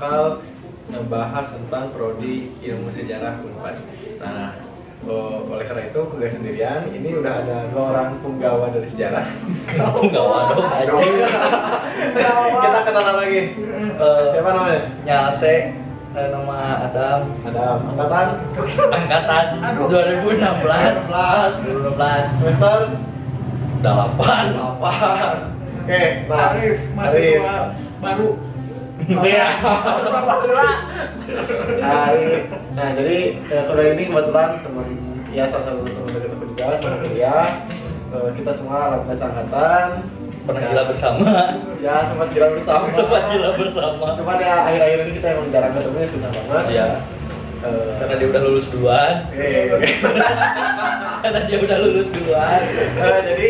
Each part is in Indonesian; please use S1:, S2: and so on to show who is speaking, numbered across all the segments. S1: Eh, membahas tentang prodi ilmu sejarah Unpad. Nah, o- oleh karena itu aku gak sendirian. Ini udah ada dua orang penggawa dari sejarah.
S2: Kamu nggak waduh anjing.
S1: Kita kenalan lagi.
S2: Eh,
S1: Siapa namanya?
S2: Nyase eh, nama Adam
S1: Ada angkatan
S2: angkatan 2016 2016
S1: semester
S2: delapan
S1: apa? Oke, nah,
S3: Arif,
S1: Arif.
S3: mahasiswa baru.
S2: Iya.
S1: Nah, ini, nah jadi eh, kalau ini kebetulan teman ya salah satu teman dekat aku juga teman kuliah. Eh, kita semua alumni angkatan
S2: pernah
S1: Ya.
S2: gila bersama
S1: Ya sempat gila bersama.
S2: sempat gila bersama
S1: Cuman ya akhir-akhir ini kita emang jarang ketemu ya susah banget.
S2: Iya.
S1: Eh,
S2: karena dia udah lulus duluan
S1: eh,
S2: karena dia udah lulus duluan
S1: eh, jadi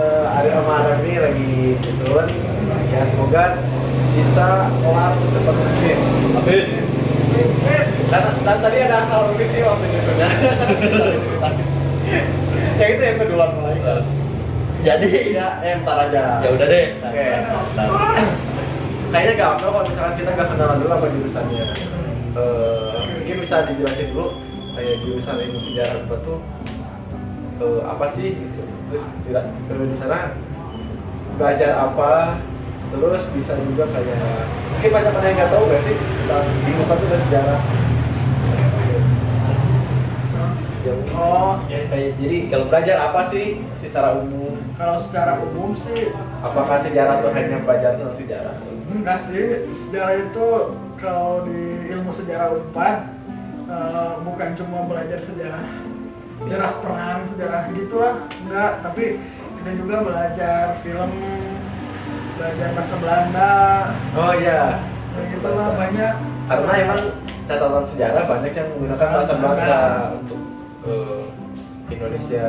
S1: eh, ada sama Adam ini lagi disuruh ya semoga bisa kelar cepat mungkin.
S2: amin
S1: Eh, Dan, dan tadi ada hal lucu sih waktu itu. ya itu yang kedua mulai.
S2: Eh, jadi
S1: Iya, eh, ntar aja.
S2: ya udah deh
S1: Oke. Kayaknya gampang kalau misalkan kita nggak kenalan dulu apa jurusannya. Eh, mungkin bisa dijelasin dulu kayak jurusan ilmu sejarah apa tuh eh, apa sih gitu. Terus tidak eh, di sana belajar apa? Terus bisa juga kayak mungkin banyak orang yang nggak tahu nggak sih tentang ilmu apa tuh dan sejarah. Oh, kayak jadi kalau belajar apa sih secara umum?
S3: Kalau secara umum sih
S1: Apakah sejarah tuh hanya belajar tentang sejarah?
S3: enggak sih. Sejarah itu kalau di ilmu sejarah Unpad eh, bukan cuma belajar sejarah sejarah perang, sejarah gitulah, enggak, tapi kita juga belajar film, belajar bahasa Belanda,
S1: Oh iya.
S3: dan gitulah banyak.
S1: Karena emang catatan sejarah banyak yang menggunakan bahasa Belanda untuk eh, Indonesia.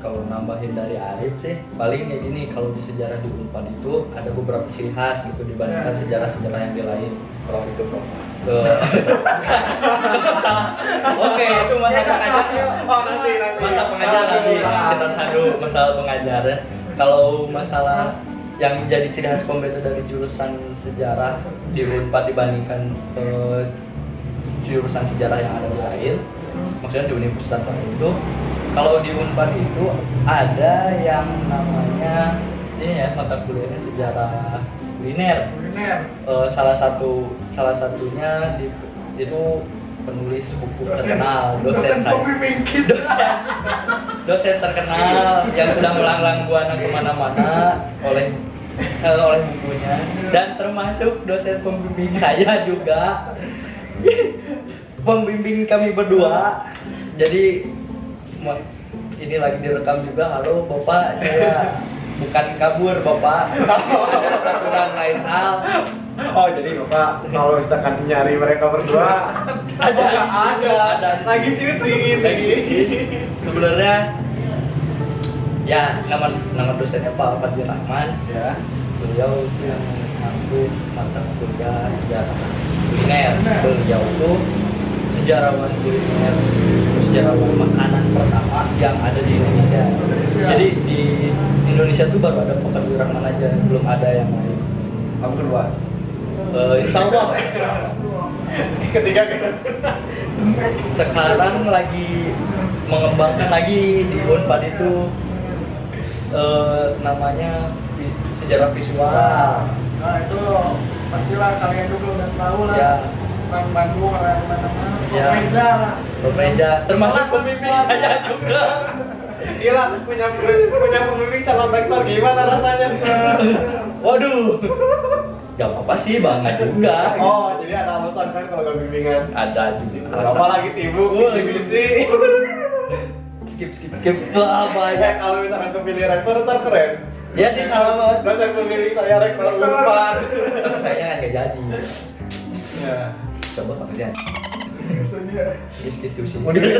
S2: kalau nambahin dari Arif sih paling kayak gini kalau di sejarah di Unpad itu ada beberapa ciri khas gitu
S1: Iya.
S2: dibandingkan
S3: Ya.
S2: sejarah-sejarah yang di lain kalau itu Prof. Ke- salah oke itu masa
S3: Ya,
S2: pengajar
S3: ya,
S1: Oh nanti nanti.
S2: masa pengajar nanti kita tahu masalah pengajar ya. kalau masalah yang jadi ciri khas pembeda dari jurusan sejarah di Unpad dibandingkan ke jurusan sejarah yang ada di lain maksudnya di universitas lain itu kalau di Unpad itu ada yang namanya ini ya mata kuliahnya sejarah kuliner
S3: Kuliner,
S2: Eh, salah satu salah satunya di, itu penulis buku terkenal dosen saya
S3: pembimbing kita.
S2: dosen dosen terkenal yang sudah melanglang buana kemana-mana oleh eh, oleh bukunya dan termasuk dosen pembimbing saya juga pembimbing kami berdua jadi mo- ini lagi direkam juga halo bapak saya bukan kabur bapak ada satuan lain hal
S1: Oh jadi bapak kalau misalkan nyari mereka berdua oh,
S2: ada ada ada
S1: lagi syuting
S2: sebenarnya ya nama nama dosennya Pak Fadil Rahman
S1: Ya.
S2: beliau itu yang mengambil mata kuliah sejarah kuliner
S3: Nah.
S2: beliau itu sejarawan kuliner sejarawan makanan pertama yang ada di Indonesia
S3: Indonesia.
S2: jadi di Indonesia tuh baru ada Pak Fadil Rahman aja belum ada yang lain
S1: Kamu kedua.
S2: Eh, insya Allah
S1: Ketiga kan.
S2: sekarang lagi mengembangkan lagi di Unpad itu eh, namanya vi- sejarah visual
S3: Nah itu pastilah kalian juga udah tahu lah.
S2: Ya.
S3: Orang Bandung, orang mana-mana.
S2: Ya.
S3: Pemirsa lah.
S2: Pemeja termasuk
S3: Malah
S2: pembimbing
S3: perempuan.
S2: saya juga
S1: Gila punya punya pembimbing calon rektor gimana rasanya?
S2: waduh gak apa-apa sih bangga juga
S1: Oh jadi ada alasan kan kalau gak bimbingan.
S2: ada juga
S1: Bapak lagi sibuk, lagi
S2: Oh, lagi
S1: busy.
S2: skip skip skip
S1: Banyak
S2: Wah,
S1: Ya,
S2: banyak
S1: kalau misalkan kepilih rektor ntar keren.
S2: ya sih salah banget
S1: Dosen pemilih saya rektor
S3: Rektor.
S1: unpad.
S2: saya kan gak jadi coba pekerjaan
S3: Biasanya.
S2: institusi
S1: Mau dibeli?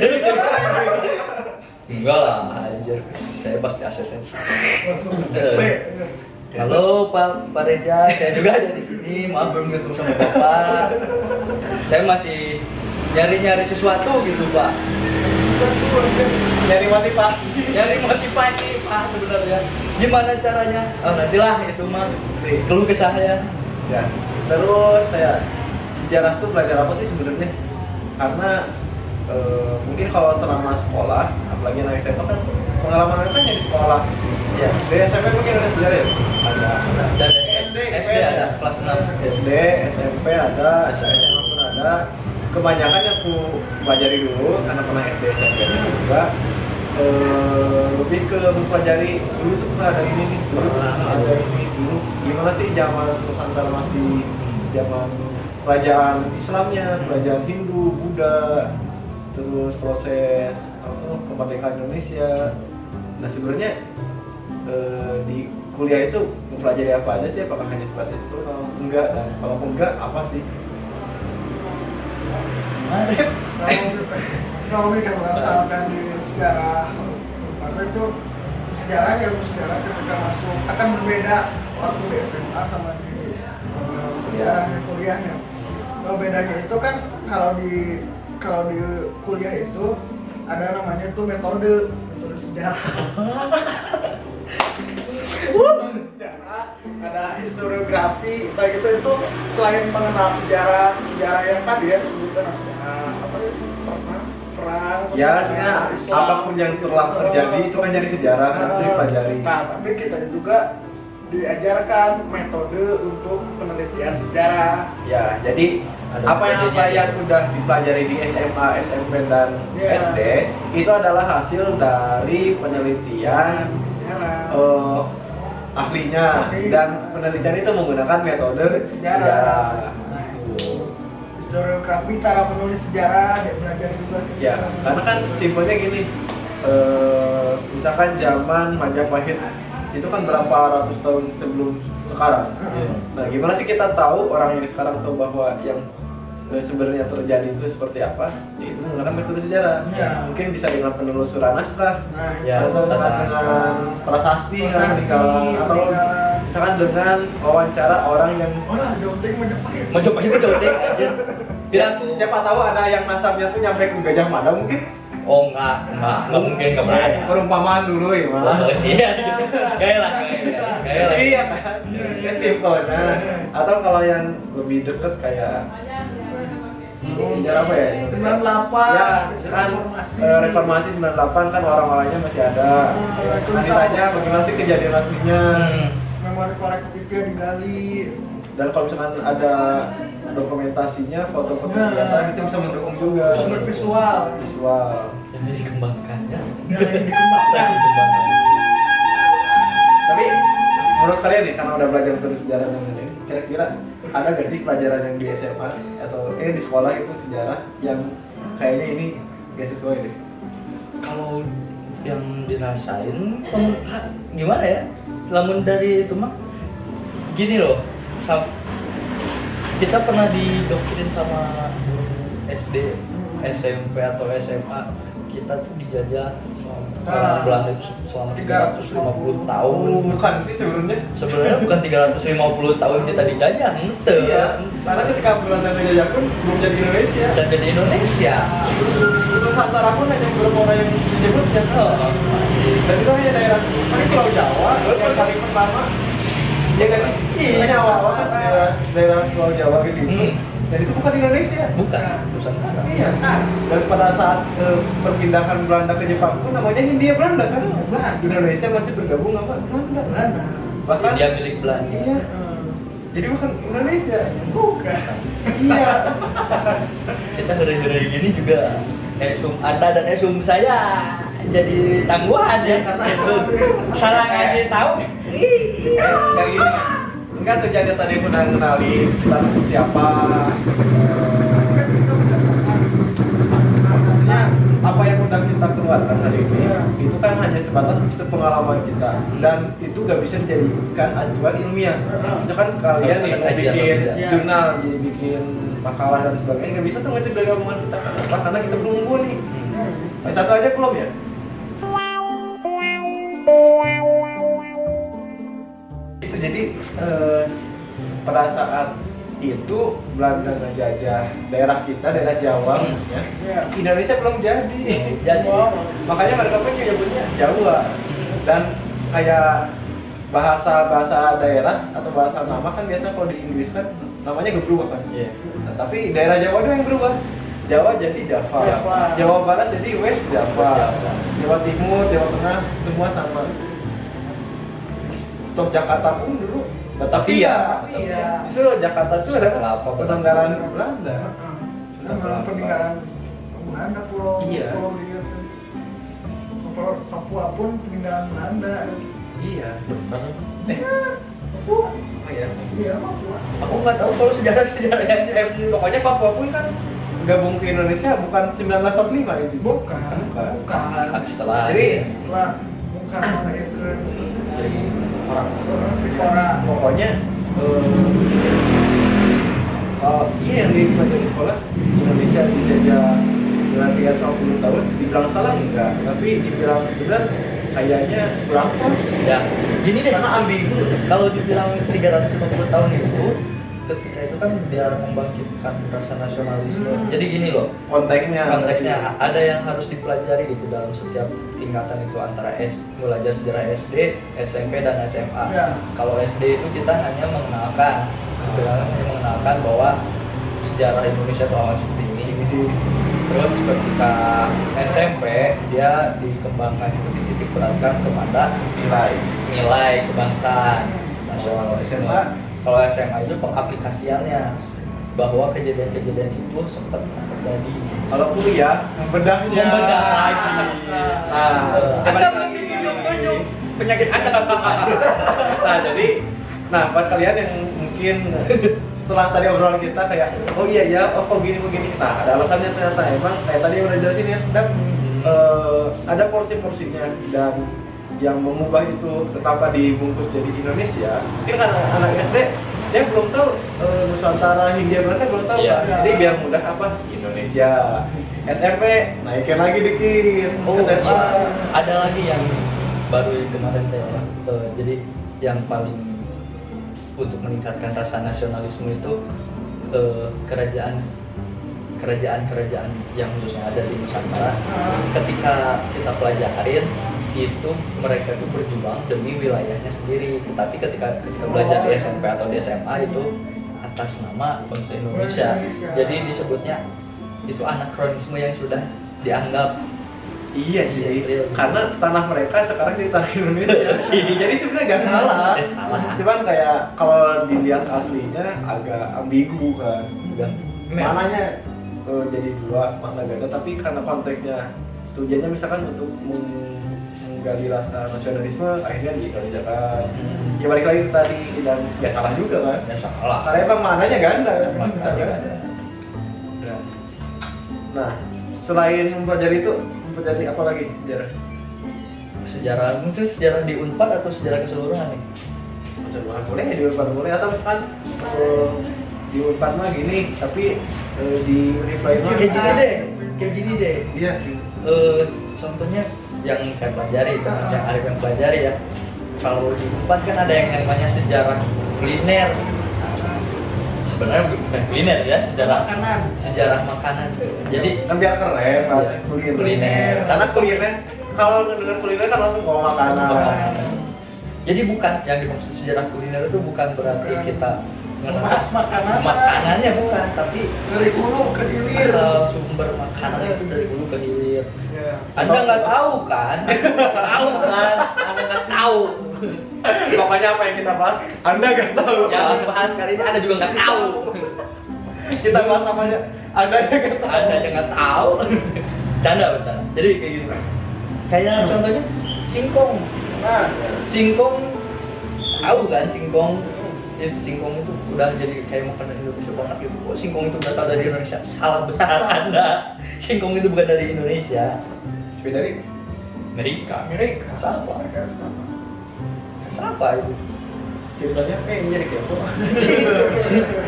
S2: enggak lah anjir saya pasti asisten
S3: Langsung
S2: Eh.
S3: se.
S2: Halo Pak Pak Reja, saya juga ada di sini. Maaf belum ketemu sama Bapak. Saya masih nyari-nyari sesuatu gitu Pak.
S1: Nyari motivasi.
S2: Nyari motivasi Pak sebenarnya. Gimana caranya? Oh nantilah itu mah. Keluh kesah ya.
S1: Ya. Terus saya sejarah tuh belajar apa sih sebenarnya? Karena eh, mungkin kalau selama sekolah, apalagi anak SMA kan pengalaman anak kan yang di sekolah.
S2: Iya.
S1: Dari SMP mungkin ada sejarah ya? Ada. ada.
S2: Dan SD, SD ada kelas 6
S1: SD, SMP ada, SMA pun ada. Kebanyakan yang aku pelajari dulu, karena pernah SD, SMP nya juga eh, lebih ke mempelajari dulu tuh pernah ada ini nih, dulu pernah ada ini dulu. Gimana sih zaman Nusantara masih zaman kerajaan Islamnya, kerajaan Hindu, Buddha, terus proses apa tuh, kemerdekaan Indonesia. Nah sebenarnya eh, di kuliah itu mempelajari apa aja sih apakah hanya sebatas itu kalau enggak dan kalau enggak apa sih
S3: kalau mikir berdasarkan di sejarah karena itu sejarah ya sejarah ketika masuk akan berbeda waktu di SMA sama di eh, sejarah di kuliahnya kalau bedanya itu kan kalau di kalau di kuliah itu ada namanya tuh metode metode sejarah sejarah, ada historiografi, kayak gitu itu selain mengenal sejarah sejarah yang tadi ya disebutkan sejarah apa ya, perang perang
S1: ya
S3: sejarah
S1: karena
S3: Islam,
S1: apapun yang telah
S3: gitu.
S1: terjadi itu kan jadi sejarah kan itu
S3: Nah,
S1: dipelajari
S3: Nah, tapi kita juga diajarkan metode untuk penelitian sejarah.
S1: ya jadi
S2: Ada
S1: apa yang apa
S2: metodenya.
S1: yang udah dipelajari di SMA SMP dan
S3: gitu. Ya.
S1: SD itu adalah hasil dari penelitian
S3: Sejarah.
S1: eh, ahlinya
S3: Ahli.
S1: dan penelitian itu menggunakan metode
S3: Sejarah. Nah,
S1: Gitu.
S3: Historiografi cara menulis sejarah, dia belajar juga.
S1: Ya, karena kan simpelnya gini, eh, misalkan zaman Majapahit itu kan berapa ratus tahun sebelum sekarang.
S3: Iya.
S1: Nah, gimana sih kita tahu orang yang sekarang tahu bahwa yang eh, sebenarnya terjadi itu seperti apa? Yaitu menggunakan metode sejarah. Nah,
S3: Ya.
S1: Mungkin bisa dengan penelusuran naskah,
S3: Nah,
S2: Ya,
S1: atau misalkan
S2: tentang
S1: dengan prasasti, kan,
S3: Prasasti,
S1: tinggalan, atau
S3: peninggalan.
S1: misalkan dengan wawancara orang yang
S3: Oh lah, jauh ting Majapahit.
S2: Mau coba itu dong, Dek. Anjir. Bilang aku.
S1: siapa tahu ada yang nasabnya tuh nyampe ke Gajah Mada mungkin
S2: Oh enggak, enggak, enggak mungkin enggak berani.
S1: Iya. perumpamaan dulu ya malah
S2: Oh, sih. Gaya lah, gaya. gaya lah.
S1: iya kan ya simpel nah atau kalau yang lebih deket kayak sejarah apa ya
S3: 98.
S1: ya kan eh, reformasi 98 kan orang-orangnya masih ada
S3: Hmm, itu
S1: nah ditanya bagaimana sih kejadian aslinya
S2: Hmm.
S3: Memori kolektifnya digali.
S1: dan kalau misalkan ada dokumentasinya foto-foto
S3: Nah.
S1: kegiatan itu Hmm. bisa mendukung juga
S3: Sumber visual.
S1: visual
S2: Jadi dikembangkannya.
S3: Yang
S2: Iya.
S3: dikembangkan.
S1: tapi menurut kalian nih karena udah belajar terus sejarah dan lain-lain kira-kira ada gak sih pelajaran yang di SMA atau eh di sekolah itu sejarah yang kayaknya ini gak sesuai deh
S2: Kalau yang dirasain em, ha, gimana ya? Lamun dari itu mah gini loh. sam- kita pernah didoktrin sama guru SD, SMP atau SMA kita tuh dijajah selama
S3: Ah.
S2: orang Belanda itu selama 350 tahun.
S1: bukan sih sebenarnya
S2: Sebenarnya bukan 350 tahun kita dijajah, ente
S1: iya karena ketika Belanda menjajah pun belum jadi Indonesia
S2: Jadi di Indonesia.
S1: Nusantara pun hanya beberapa orang yang menyebutnya
S2: Oh, masih.
S1: dan itu hanya daerah paling Pulau Jawa yang paling pertama ya gak sih
S3: Iya.
S1: hanya awal-awal kan daerah daerah Pulau Jawa gitu
S2: Hmm.
S1: dan itu bukan Indonesia
S2: Bukan Nusantara.
S1: Iya. Dan pada saat eh, perpindahan Belanda ke Jepang pun namanya Hindia Belanda kan?
S3: Belanda.
S1: Indonesia masih bergabung sama Belanda.
S3: Belanda.
S1: Bahkan
S2: Dia milik Belanda.
S1: Iya.
S3: Hmm,
S1: Jadi bukan Indonesia.
S3: Bukan.
S1: iya.
S2: Kita hari-hari gini juga esum Anda dan esum saya jadi tangguhan ya karena itu Iya. salah ngasih tahu.
S1: Kayak kayak gini. Enggak tuh jadi tadi pernah kenalin kita tuh siapa. eh,
S3: Kan kita berdasarkan
S1: Artinya apa yang udah kita keluarkan hari ini
S3: Iya.
S1: itu kan hanya sebatas pengalaman kita dan itu gak bisa dijadikan acuan ilmiah.
S3: Iya.
S1: Misalkan kalian
S2: Harus
S1: nih
S2: ada
S1: mau
S2: kajian
S1: bikin
S2: atau
S3: tidak.
S1: jurnal, jadi bikin makalah dan sebagainya nggak bisa tuh ngecek dari omongan kita kenapa? Karena kita belum unggul nih.
S2: Hmm.
S1: Nah, satu aja belum ya? Itu jadi eh, pada saat itu Belanda ngejajah daerah kita, daerah Jawa
S2: Hmm.
S1: khususnya.
S3: Iya.
S1: Indonesia belum jadi.
S2: Jadi.
S1: Wow. Makanya mereka pun nyebutnya Jawa. Dan kayak bahasa bahasa daerah atau bahasa nama kan biasa kalau di Inggris kan namanya gebruk kan.
S2: Iya.
S1: Nah, tapi daerah Jawa doang yang berubah Jawa jadi Java,
S3: Java.
S1: Jawa Barat jadi West Java.
S2: West Java.
S1: Jawa Timur, Jawa Tengah semua sama top Jakarta pun dulu Batavia
S3: Batavia.
S1: itu Jakarta itu ada
S2: Kelapa,
S1: penanggalan Belanda
S3: Memang peninggalan Belanda pulau
S1: Iya.
S3: pulau dia tuh. Pulau Papua pun peninggalan Belanda.
S1: iya
S3: Eh, Papua.
S1: oh ya
S3: Iya, Papua.
S2: Aku nggak tahu kalau sejarah-sejarah yang
S1: eh, pokoknya Papua pun kan gabung ke Indonesia bukan 1945 itu Ah, iya.
S3: Bukan,
S1: Bukan.
S3: bukan.
S2: setelah
S1: Jadi-
S3: Setelah bukan malah itu
S2: dari orang
S3: orang Trikora.
S1: pokoknya eh, oh, iya yang dipelajari di sekolah Indonesia dijajah dalam 350 tahun dibilang salah enggak tapi dibilang benar kayaknya kurang pas
S2: ya gini deh
S1: karena ambigu
S2: kalau dibilang 350 tahun itu ketika itu kan biar membangkitkan rasa nasionalisme
S3: Hmm.
S2: jadi gini loh
S1: konteksnya
S2: konteksnya ada yang harus dipelajari itu dalam setiap tingkatan itu antara S belajar sejarah SD, SMP dan SMA.
S3: Ya.
S2: Kalau SD itu kita hanya mengenalkan, kita hanya mengenalkan bahwa sejarah Indonesia itu awal seperti ini.
S1: ini sih
S2: Terus ketika SMP dia dikembangkan itu dititik beratkan kepada
S1: nilai
S2: nilai kebangsaan nasional
S1: Oh,
S2: SMA.
S1: SMA.
S2: Kalau SMA itu pengaplikasiannya bahwa kejadian-kejadian itu sempat terjadi
S1: kalau kuliah membedahnya
S2: Membedah lagi.
S1: nah,
S2: Anda
S1: balik
S2: belum
S1: lagi.
S2: ditunjuk-tunjuk penyakit Anda. kan?
S1: nah jadi nah buat kalian yang mungkin setelah tadi obrolan kita kayak oh iya ya oh kok gini kok gini nah ada alasannya ternyata emang kayak tadi yang udah jelasin ya dan
S2: Hmm.
S1: eh, ada porsi-porsinya dan yang mengubah itu kenapa dibungkus jadi Indonesia mungkin kan anak SD dia belum tahu eh, Nusantara Hindia mereka belum tahu
S2: Iya.
S1: kan. jadi biar mudah apa Indonesia SMP naikin lagi dikit
S2: Oh,
S1: SMA
S2: iya. ada lagi yang baru kemarin saya ulang. Eh, jadi yang paling untuk meningkatkan rasa nasionalisme itu eh, kerajaan kerajaan-kerajaan yang khususnya ada di Nusantara ketika kita pelajarin itu mereka itu berjuang demi wilayahnya sendiri tapi ketika ketika belajar di SMP atau di SMA itu atas nama bangsa Indonesia
S3: Indonesia.
S2: jadi disebutnya itu anakronisme yang sudah dianggap
S1: Iya sih, karena tanah mereka sekarang jadi tanah Indonesia sih. Jadi sebenarnya gak salah.
S2: Iya Nggak salah.
S1: Cuman kayak kalau dilihat aslinya agak ambigu kan.
S2: Enggak.
S1: Mananya eh, jadi dua, mana gak ada. Tapi karena konteksnya tujuannya misalkan untuk meng- menggali rasa nasionalisme, akhirnya diindonesia-kan.
S2: Hmm.
S1: Ya balik lagi ke tadi dan gak salah juga kan.
S2: Ya salah.
S1: Karena emang mananya ganda kan,
S2: Emang
S1: misalnya.
S2: ganda.
S1: Nah, selain mempelajari itu, mempelajari apa lagi sejarah?
S2: Sejarah mungkin sejarah di Unpad atau sejarah keseluruhan nih.
S1: Percobaan boleh ya di Unpad boleh atau misalkan eh, di Unpad mah gini tapi eh, di Unify mah
S2: Kayak gini deh, kayak gini deh.
S1: Iya.
S2: Eh, contohnya yang saya pelajari, yang Arif yang pelajari ya. Kalau di Unpad kan ada yang namanya sejarah kuliner. Sebenarnya bukan kuliner ya, sejarah
S3: Makanan.
S2: sejarah makanan. Jadi
S1: Kan biar keren bahasa
S2: Iya.
S1: kuliner.
S2: Kuliner.
S1: Karena kuliner kalau dengar kuliner kan langsung mau makanan.
S2: Jadi bukan yang dimaksud sejarah kuliner itu bukan berarti
S3: Bukan.
S2: kita
S3: Membahas makanan.
S2: makanannya bukan, tapi
S3: Dari hulu ke hilir.
S2: asal eh, sumber makanan itu dari hulu ke hilir.
S3: Ya.
S2: Anda nggak tahu kan? tahu kan? Anda nggak tahu.
S1: Pokoknya apa yang kita bahas Anda gak tahu.
S2: Yang aku bahas kali ini Anda juga nggak tahu.
S1: Kita bahas apa aja Anda aja gak tahu.
S2: Anda aja nggak tahu. Canda bercanda. Jadi kayak gitu. Kayaknya contohnya singkong.
S3: Nah,
S2: Singkong tahu kan singkong? Ya, singkong itu udah jadi kayak makanan Indonesia banget gitu. Oh, singkong itu berasal dari Indonesia. Salah besar Anda. Singkong itu bukan dari Indonesia.
S1: Tapi dari
S2: Amerika.
S3: Amerika.
S2: Sama. Kenapa itu?
S1: ceritanya kayak jadi kepo.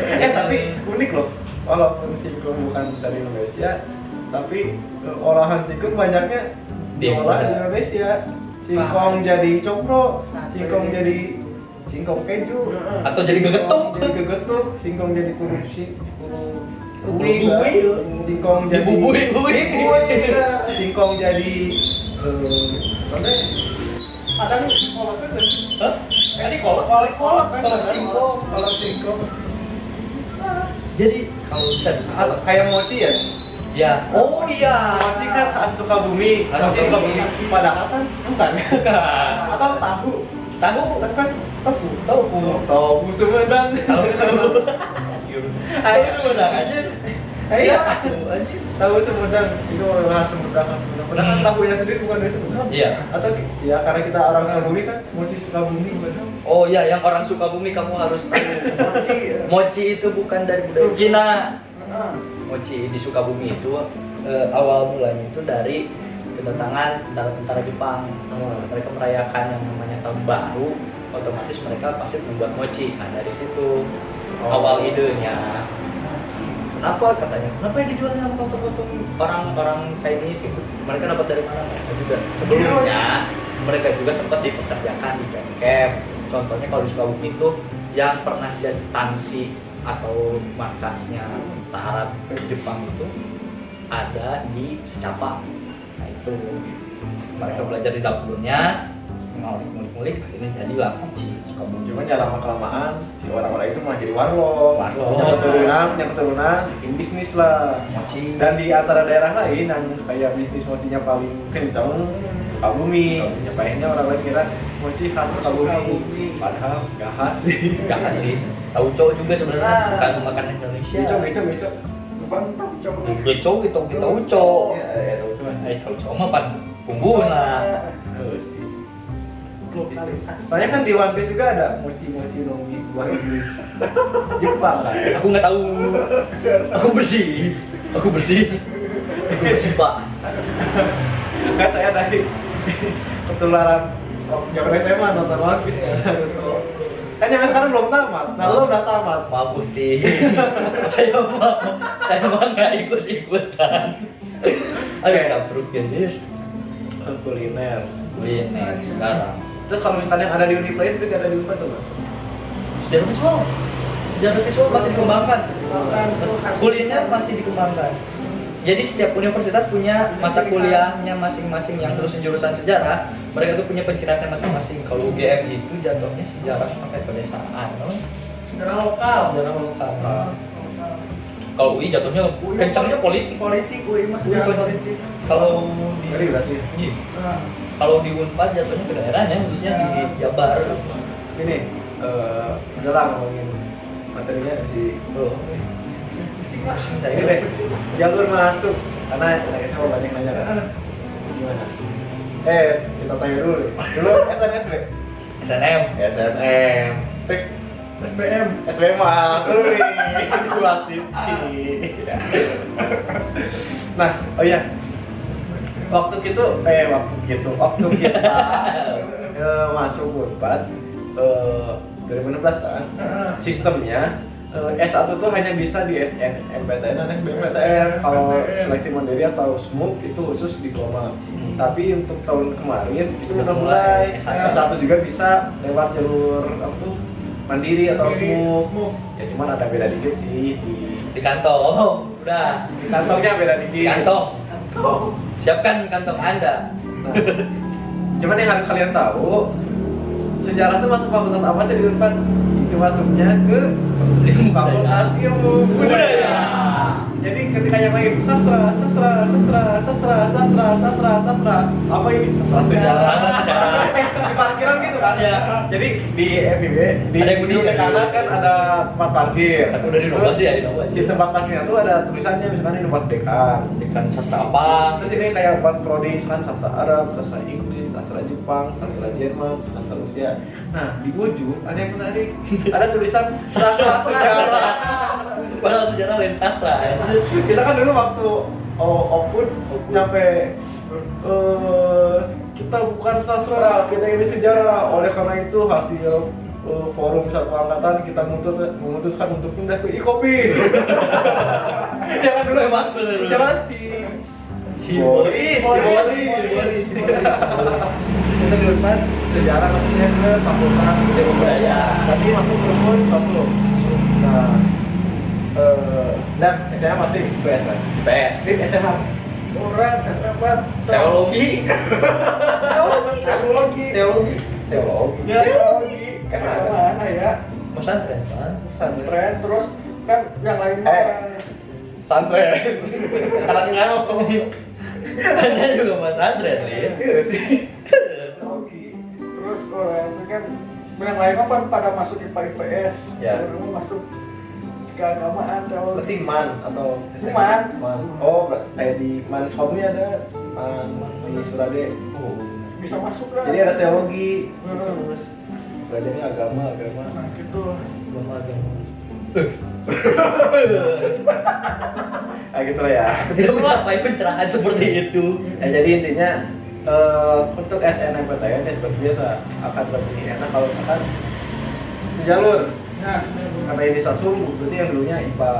S1: eh tapi unik loh. Walaupun singkong bukan dari Indonesia, tapi eh, olahan singkong banyaknya
S2: Di
S1: diolah di Indonesia.
S2: Indonesia.
S1: Singkong jadi cokro,
S3: Sate.
S1: singkong jadi singkong keju,
S3: Heeh.
S2: Atau jadi gegetuk.
S1: singkong jadi gegetuk, singkong jadi kuru si kuru
S2: Kuru
S1: kuih,
S2: kuih.
S1: singkong jadi
S2: Dibubui-bui.
S1: singkong jadi eh, apa ya?
S3: Ada nih kolaknya dari
S2: Hah? Tadi kolak.
S3: kolak kolak kan?
S2: Kolak singkong.
S3: Kolak singkong.
S2: jadi kalau bisa
S1: Atau kayak mochi ya?
S2: ya oh iya
S1: Mochi kan khas Sukabumi.
S2: Khas
S1: Mochi
S2: Sukabumi.
S1: Sukabumi. Padahal kan bukan.
S2: bukan
S1: Atau tahu.
S2: tahu
S1: Kan tahu.
S2: tofu
S1: Tahu Sumedang.
S2: tahu ayo lu udah aja ayo tahu aja
S1: Eh, iya. Tahu Sumedang. Itu orang Sumedang. khas Sumedang. Padahal kan
S2: Hmm.
S1: tahunya sendiri bukan dari Sumedang.
S2: Iya.
S1: Atau ya karena kita orang Sukabumi kan mochi Sukabumi padahal.
S2: oh iya yang orang Sukabumi kamu harus tahu
S3: Mochi ya.
S2: mochi itu bukan dari budaya
S3: Suka.
S2: Cina
S3: Heeh.
S2: mochi di Sukabumi itu eh, awal mulanya itu dari kedatangan tentara-tentara Jepang Nah,
S1: Hmm.
S2: mereka merayakan yang namanya tahun baru otomatis mereka pasti membuat mochi nah dari situ
S1: Oh.
S2: awal idenya kenapa katanya kenapa yang dijual yang potong-potong orang-orang Chinese gitu mereka dapat dari mana mereka juga sebelumnya mereka juga sempat dipekerjakan di camp camp contohnya kalau di Sukabumi itu yang pernah jadi tansi atau markasnya tentara Jepang itu ada di Secapa nah itu mereka belajar di dapurnya ngulik-ngulik akhirnya jadilah kunci Sukabumi
S1: Cuman ya lama kelamaan si orang-orang itu malah jadi warlock.
S2: Warlock.
S1: Punya keturunan, punya keturunan, bikin bisnis lah.
S2: mochi
S1: Dan di antara daerah lain yang kayak bisnis mochinya paling kenceng Sukabumi. Nyepainnya orang lain kira mochi khas
S3: Sukabumi.
S1: Sukabumi. Padahal gak khas sih.
S2: gak kasih tahu cowok juga sebenarnya
S1: Ah.
S2: bukan makanan Indonesia
S1: Becok, becok, becok.
S3: Bantap coba.
S2: cowok gitu kita cowok
S1: Ya, ya, tahu cuman.
S2: eh tahu cowok mah pan punggung lah
S1: Tahu sih.
S3: Lokalisasi.
S1: Soalnya kan di One Piece juga ada mochi-mochi nomi buah iblis Jepang kan?
S2: aku nggak tahu aku bersih aku bersih aku bersih pak
S1: Kan saya dari ketularan oh, zaman SMA nonton One Piece ya. Kan sampai sekarang belum tamat. Nah, lo udah tamat.
S2: maaf putih saya mau saya mau nggak ikut ikutan aduh
S1: Oke.
S2: capruk ya dia
S1: Kan Kuliner.
S2: Wih, nih sekarang
S1: Terus kalau misalnya yang ada di Uniplay itu juga ada di Unpad tuh, Bang?
S2: sejarah visual sejarah visual masih dikembangkan
S3: Bukan tuh khas.
S2: kuliner masih dikembangkan. Jadi setiap universitas punya mata kuliahnya masing-masing yang jurusan jurusan sejarah, mereka tuh punya pencinanya masing-masing. Kalau UGM itu jatuhnya sejarah sampai pedesaan, no?
S3: Sejarah lokal.
S2: sejarah lokal.
S3: Lokal.
S2: Kalau UI jatuhnya
S3: UI
S2: kencangnya politik.
S3: Politik UI mah
S2: UI
S3: sejarah
S2: kencang.
S3: Iya, politik.
S2: Kalau
S1: Ngeri
S2: di
S1: berarti.
S2: iya.
S3: Nah,
S2: kalau di Unpad jatuhnya ke daerahnya, khususnya di Jabar.
S1: Ini eh udah lah ngomongin materinya si Nah,
S2: Tuh,
S3: pusing lah.
S2: pusing
S1: Ini
S2: saya.
S1: deh, jalur masuk karena anak SMA banyak nanya kan. Gimana? Eh, kita tanya dulu. deh. Dulu SNSD.
S2: SNM.
S1: SNM.
S3: SBM.
S1: SBM masuk nih. Dua sisi. Nah, oh iya.
S2: Oh.
S1: Waktu gitu, eh waktu gitu, waktu kita eh, masuk Unpad eh 2016 kan
S3: Heeh.
S1: sistemnya eh, S1 tuh hanya bisa di SNMPTN dan SBMPTN kalau seleksi mandiri atau SMUK itu khusus diploma
S2: Hmm.
S1: tapi untuk tahun kemarin itu
S2: Udah
S1: udah
S2: mulai
S1: mulai
S2: S1.
S1: S1 juga bisa lewat jalur apa tuh mandiri atau
S3: Mandiri,
S1: SMUK
S3: SMUK.
S1: ya cuman ada beda dikit sih di,
S2: Di kantong. Oh, Udah.
S1: di kantongnya beda
S2: Di
S1: dikit
S2: kantong.
S3: Oh.
S2: Siapkan kantong Anda.
S1: Nah, cuman yang harus kalian tahu sejarah tuh masuk fakultas apa sih di depan itu masuknya ke fakultas ilmu budaya jadi ketika yang lain sastra sastra sastra sastra sastra sastra sastra apa ini sastra sejarah
S2: Sastra sejarah.
S1: Eh, di parkiran gitu kan
S2: Iya.
S1: jadi di FIB di
S2: Ada yang
S1: di
S2: gede.
S1: kanan kan ada tempat parkir
S2: Tapi udah dirubah
S1: Terus
S2: sih ya, dirubah aja.
S1: di tempat parkirnya tuh ada tulisannya misalnya di tempat dekan
S2: Dekan sastra apa?
S1: Terus ini kayak buat prodi kan sastra Arab, sastra Inggris, sastra Jepang, sastra Jerman, sastra Rusia. Nah, di ujung ada yang menarik. Ada tulisan sastra sejarah.
S2: Padahal sejarah lain sastra. ya.
S1: Kita kan dulu waktu o- Opun nyampe eh, kita bukan sastra, kita ini sejarah. Oleh karena itu hasil eh, forum satu angkatan kita memutus, memutuskan untuk pindah ke Ikopi. ya kan dulu emang
S2: Bener, bener.
S1: ya kan si
S2: Si Boris, si Boris, si Boris, si Boris.
S1: kita di depan sejarah maksudnya ke fakultas budaya budaya tapi masuk ke rumpun sosum nah eh dan SMA masih PS kan
S2: PS.
S1: Dit SMA
S3: Orang SBM.
S2: Teologi,
S3: Teknologi.
S2: teologi.
S1: teologi
S3: Ya, teknologi.
S1: Kan
S3: Kenapa? Ya.
S2: Pesantren kan?
S1: pesantren
S3: Tren terus kan yang lain
S2: Eh. Santai. Karena ngomong. Anda juga Mas Andre nih.
S1: Iya sih.
S3: teknologi terus orang itu kan yang lain apa pada masuk IPA IPS
S1: Ya.
S3: kamu masuk keagamaan teologi
S1: Berarti man atau
S3: Man.
S1: man. Oh, ber- kayak di manis Fabri ada man di Surade.
S3: bisa masuk lah
S1: Jadi ada teologi,
S3: Oh. Hmm.
S1: terus belajarnya agama, agama.
S3: nah gitu
S2: Belum agama.
S1: Ah gitu lah ya.
S2: Tidak mencapai pencerahan seperti itu.
S1: Ya, jadi intinya eh, untuk SNMPTN ya seperti biasa akan lebih enak kalau misalkan sejalur
S3: nah
S1: karena ini sasum berarti yang dulunya IPA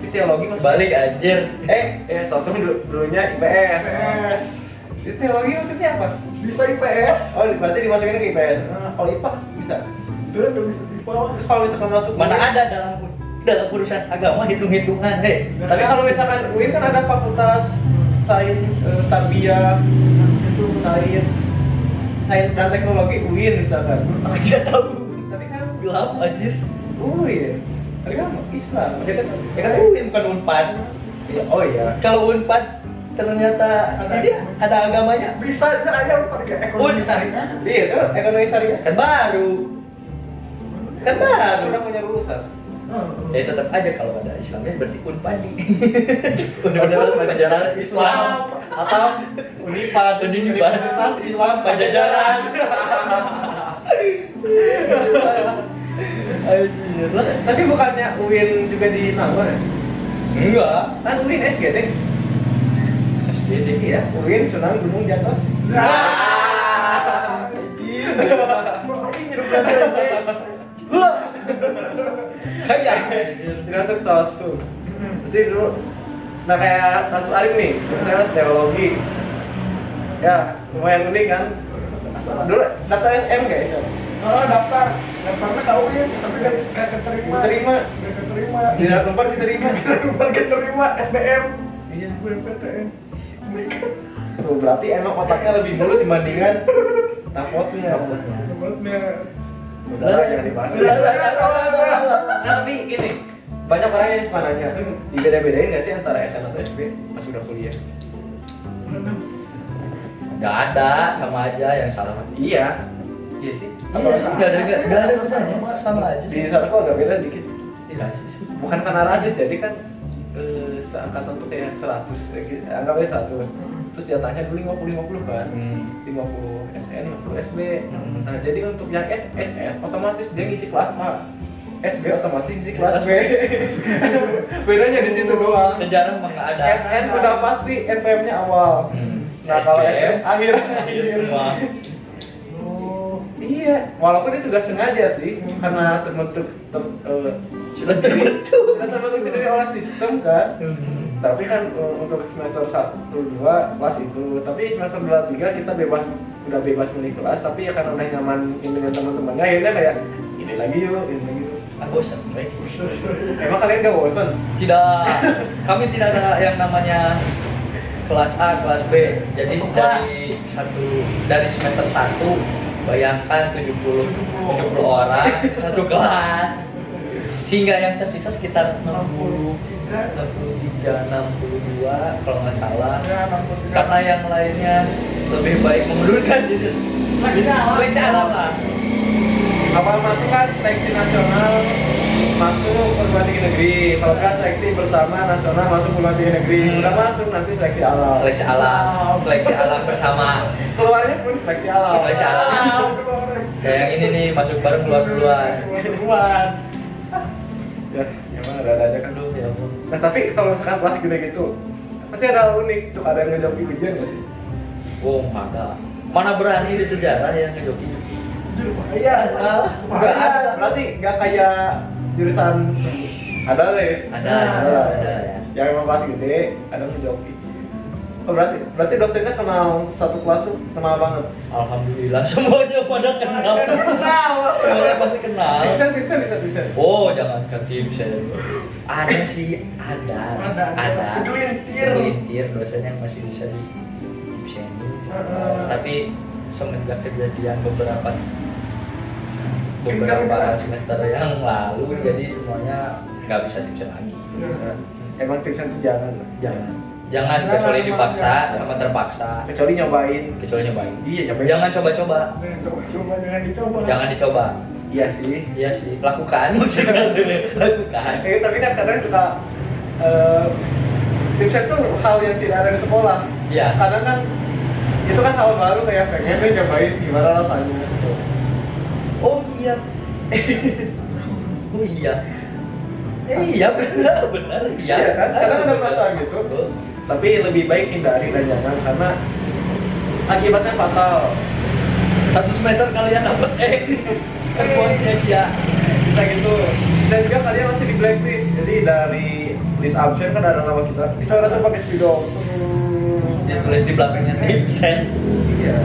S1: di teologi masih
S2: Balik anjir.
S1: eh eh sasum dulu- dulunya IPS
S3: IPS
S1: di teologi maksudnya apa
S3: bisa IPS
S1: oh berarti dimasukin ke IPS
S3: Hmm.
S1: kalau IPA bisa Oh,
S3: itu udah bisa IPA mah.
S1: terus kalau misalkan masuk
S2: Mana
S1: UIN,
S2: ada dalam dalam urusan agama hitung-hitungan, hei.
S1: tapi kalau misalkan UIN kan ada fakultas sains eh, tarbiyah itu sains sains dan teknologi UIN misalkan
S2: Dia tahu.
S1: tapi kan
S2: Gelap anjir.
S1: UIN Oh, tapi kan Islam
S2: Ya kan, ya kan UIN bukan Unpad.
S1: Iya, oh iya
S2: Kalau Unpad ternyata
S3: Ada
S2: ini dia ada agamanya.
S3: bisa aja aja pakai
S2: Oh,
S3: ekonomi
S2: bisa.
S3: syariah
S1: iya kan ekonomi syariah
S2: Kan baru. Kan baru.
S1: udah punya lulusan
S3: Heeh.
S1: Eh.
S2: Ya tetap aja kalau ada Islamnya berarti Unpadi. Universitas Pajajaran Islam atau Unipad, Universitas Islam Pajajaran. Anjir.
S1: tapi bukannya UIN juga di Nangor ya?
S2: Enggak.
S1: kan UIN SGD
S2: SDD
S1: iya UIN Sunan Gunung Jatos
S3: Nah.
S1: ini nyeru belajar aja
S2: Wah. Kayak
S1: Dimasuk sosum Berarti dulu Nah kayak Mas Arif nih Misalnya teologi Ya lumayan unik kan Dulu daftar SM gak SM?
S3: Oh, daftar daftarnya kauin tapi gak, gak keterima
S1: Keterima.
S3: gak keterima
S1: Di dalam tempat diterima
S3: Bukan keterima SBM
S1: Iya
S3: BMPTN
S1: Tuh berarti emang otaknya lebih mulus dibandingkan rapotnya
S3: Tempatnya
S1: Udah lah jangan dibahas
S2: Udah lah, jangan
S1: Nah tapi gini Banyak orang yang suka nanya Dibeda-bedain gak sih antara SM atau SB pas udah kuliah?
S2: Enggak ada, sama aja yang salah.
S1: Iya Iya sih
S2: Iya, enggak ada enggak ada kesannya. sama aja.
S1: Di
S2: sih.
S1: sana kok agak beda dikit
S2: Tidak sih.
S1: bukan karena rasis jadi kan eh, seangkatan tuh kayak 100 eh, gitu, anggapnya 100 terus jatahnya dulu 50 50 kan
S2: Hmm.
S1: 50 SN 50 SB
S2: Hmm.
S1: nah jadi untuk yang S SN otomatis dia ngisi kelas A SB otomatis ngisi kelas
S2: Kelas
S1: B bedanya di situ doang
S2: Sejarah mengada.
S1: SN udah pasti NPM nya awal
S2: Hmm.
S1: nah kalau SN
S2: SPM,
S1: akhir
S2: akhir Iya, semua.
S3: Oh,
S1: iya walaupun itu gak sengaja sih karena terbentuk ter, eh,
S2: Sudah terbentuk.
S1: sudah terbentuk sendiri oleh sistem kan
S2: Hmm.
S1: tapi kan uh, untuk semester 1 2 kelas itu tapi semester 2 3 kita bebas udah bebas milih kelas tapi ya karena udah nyaman dengan teman-temannya akhirnya kayak ini lagi yuk ini lagi yuk
S2: Aku bosan, baik.
S1: emang kalian gak bosan
S2: Tidak. Kami tidak ada yang namanya kelas A, kelas B. Jadi
S3: Satu kelas.
S2: dari satu dari semester 1 bayangkan 70 70 orang satu kelas. Hingga yang tersisa sekitar 60 63
S3: 63
S2: 62 kalau nggak salah.
S3: Ya, 63
S2: karena yang lainnya lebih baik mengundurkan diri
S3: Seleksi alam.
S2: seleksi alam lah
S1: awal masuk kan seleksi nasional masuk perguruan tinggi negeri kalau nggak seleksi bersama nasional masuk perguruan tinggi negeri
S2: Hmm.
S1: udah masuk nanti seleksi alam
S2: seleksi alam seleksi alam bersama
S1: keluarnya pun seleksi alam
S2: Seleksi alam. kayak yang ini nih masuk bareng keluar duluan
S3: Duluan.
S1: ya emang ada aja kan
S2: aduh ya ampun
S1: Nah tapi kalau misalkan kelas gede gitu pasti ada hal unik suka ada yang ngejawab ujian nggak sih?
S2: wong pada Oh, mana berani di sejarah yang ke Joki
S3: Jujur bahaya.
S2: Iya, Salah.
S1: Nggak
S2: Iya.
S3: Bahaya.
S1: ada, berarti nggak kayak jurusan ada lah ya.
S2: ada
S1: Ada,
S2: ada,
S1: lah
S2: ada
S1: ya.
S2: ya
S1: Yang emang kelas gede ada yang ngejawab ujian. Oh, berarti berarti dosennya kenal satu kelas tuh kenal banget.
S2: alhamdulillah semuanya pada kenal
S3: Kenal.
S2: semuanya pasti kenal
S1: Bisa bisa bisa bisa.
S2: Oh, jangan ke tim saya. Ada sih, ada.
S3: Ada, ada. Segelintir.
S2: Segelintir dosen yang masih bisa di tipsenin.
S3: Heeh.
S2: Tapi semenjak kejadian beberapa
S3: Gengar,
S2: beberapa
S3: gengar. Iya.
S2: semester yang lalu jadi semuanya nggak bisa tipsen lagi
S1: Bisa. Emang tipsen tuh jangan lah.
S2: jangan jangan
S3: Jangan,
S2: kecuali
S3: emang,
S2: dipaksa
S3: jangan.
S2: sama terpaksa
S1: Kecuali nyobain.
S2: kecuali nyobain
S1: Iya, nyobain.
S2: jangan coba-coba
S3: Jangan coba-coba, jangan dicoba.
S2: jangan dicoba
S1: Iya sih.
S2: iya sih lakukan maksudnya lakukan
S1: Eh, tapi kan kadang suka eh, tipsen tuh hal yang tidak ada di sekolah.
S2: Iya.
S1: Kadang kan itu kan hal baru kayak pengen nih nyobain gimana rasanya gitu.
S2: Oh iya. oh iya. Eh, iya benar benar iya.
S1: Iya kan? Kadang ada perasaan gitu.
S2: Oh,
S1: Tapi lebih baik hindari dan jangan karena akibatnya fatal.
S2: Satu semester kalian dapat E.
S1: Eh.
S2: Terbuat Asia.
S1: Bisa gitu. Bisa juga kalian masih di blacklist. Jadi dari list option kan ada nama kita. Kita orang tuh pakai spidol.
S2: Ditulis di belakangnya Tipsen.
S1: Iya.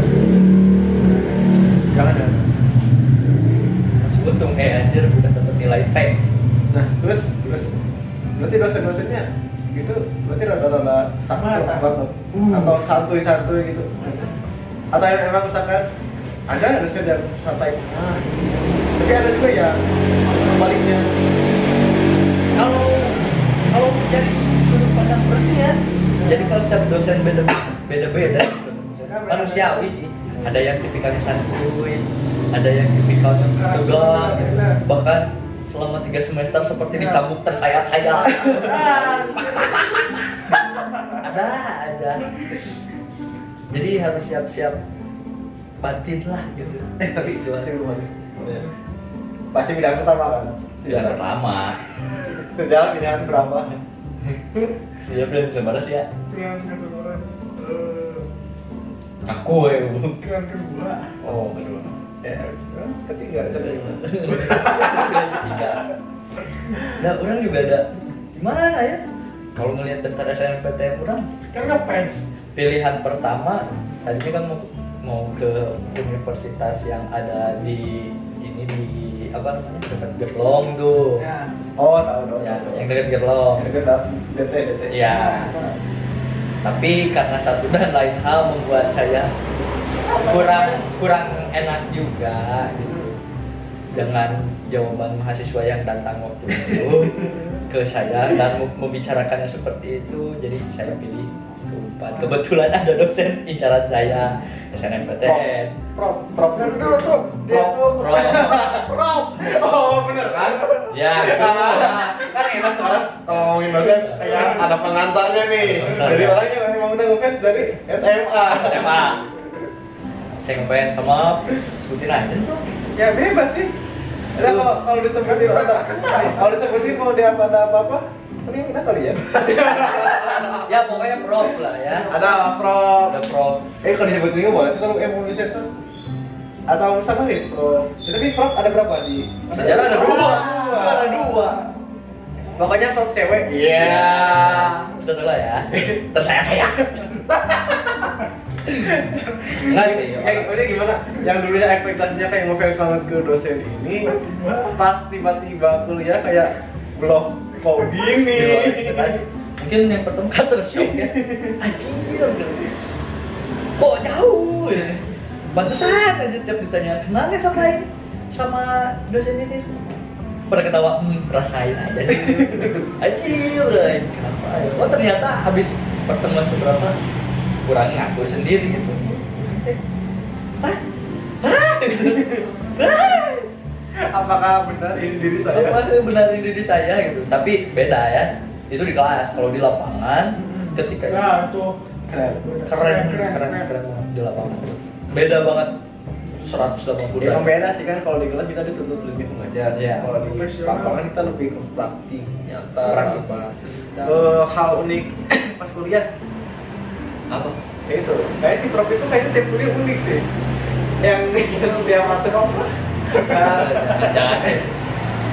S1: Jangan ya.
S2: Masih untung eh anjir udah dapat nilai T.
S1: Nah, terus terus berarti dosen-dosennya gitu berarti rada-rada sama
S3: Mata.
S1: banget
S3: Uh.
S1: atau santuy-santuy gitu atau em- emang misalkan ada dosen yang santai ah. tapi ada juga ya sebaliknya
S2: Kalau kalau dari sudut pandang bersih ya. Jadi kalau setiap dosen beda beda beda. Manusiawi sih. Ada yang tipikalnya santuy, ada yang tipikalnya tegang, bahkan selama tiga semester seperti dicambuk tersayat-sayat. ada aja. Jadi harus siap-siap batin lah gitu.
S1: eh tapi itu
S2: Gitu.
S1: pasti belum ada. pasti bidang pertama kan
S2: sudah pertama.
S1: dalam pilihan berapa
S2: Siap dan bisa balas ya.
S3: Pilihan kedua, eh,
S2: Aku ya. Bu.
S3: pilihan kedua.
S2: Oh, kedua.
S1: ya ketiga ketiga
S2: Pilihan ketiga. Nah, orang juga ada gimana ya? Kalau ngelihat daftar SNMPTN orang,
S3: Kan ngefans.
S2: pilihan pertama tadinya kan mau mau ke universitas yang ada di ini di apa namanya dekat Gerlong tuh.
S3: Ya.
S1: oh tahu dong
S2: Ya,
S1: tahu.
S2: yang dekat Gerlong.
S1: yang kedap dt dt
S2: Iya.
S1: Ya.
S2: Tapi karena satu dan lain hal membuat saya kurang kurang enak juga gitu dengan jawaban mahasiswa yang datang waktu itu ke saya dan mem- membicarakannya seperti itu jadi saya pilih keempat kebetulan ada dosen incaran saya SNMPTN
S1: prop prop
S3: Dari dulu tuh, dia
S2: Prop,
S3: tuh
S2: prop.
S3: prop.
S1: oh bener kan
S2: ya gitu.
S1: kan enak orang kalau ngomongin dosen kayak ada pengantarnya nih jadi orangnya memang udah ngefans dari SMA
S2: SMA saya kepengen sama sebutin aja tuh
S1: ya bebas sih ada kalau kalau disebutin ada kalau disebutin mau dia apa ada apa apa ini enak kali ya
S2: ya pokoknya prof lah ya
S1: ada pro
S2: ada prof
S1: eh kalau disebutin juga boleh sih kalau eh, mau disebutin atau sama nih pro ya, tapi prof ada berapa di
S2: sejarah ada dua ada dua
S1: pokoknya prof cewek Iya.
S2: Sudah tua ya. Tersayat-sayat. Enggak sih. ya.
S1: Eh, maksudnya gimana? Yang dulunya ekspektasinya kayak ngefans banget ke dosen ini, pas tiba-tiba kuliah kayak blok kok
S2: Di luar
S1: gini.
S2: ekspektasi. Mungkin yang pertama kan tersyok ya. Anjir. gitu. Kok jauh? ya? Pantesan aja tiap ditanya, kenal nggak sama ini? Sama dosen ini? Pada ketawa, hmm, rasain aja dulu. Anjir, lah, ini kenapa ya? Oh ternyata habis pertemuan beberapa kurang ngaku sendiri gitu. Eh, Hah? Hah? Hah?
S1: Apakah benar ini diri saya?
S2: Apakah benar diri saya gitu? Tapi beda ya. Itu di kelas. Kalau di lapangan, ketika
S3: Nah, tuh.
S1: Keren.
S2: Hmm. keren, keren, keren, banget di lapangan. Beda banget.
S1: Ya,
S2: 180
S1: emang
S2: derajat.
S1: beda sih kan kalau di kelas kita dituntut lebih mengajar.
S2: Iya.
S1: Kalau di lapangan kita lebih ke praktik nyata.
S2: Praktik.
S1: apa. Eh, hal unik pas kuliah
S2: Apa?
S1: ya itu kayak si prof itu kayaknya tiap kuliah unik sih yang yang dia mata apa
S2: Jangan, jangan. eh.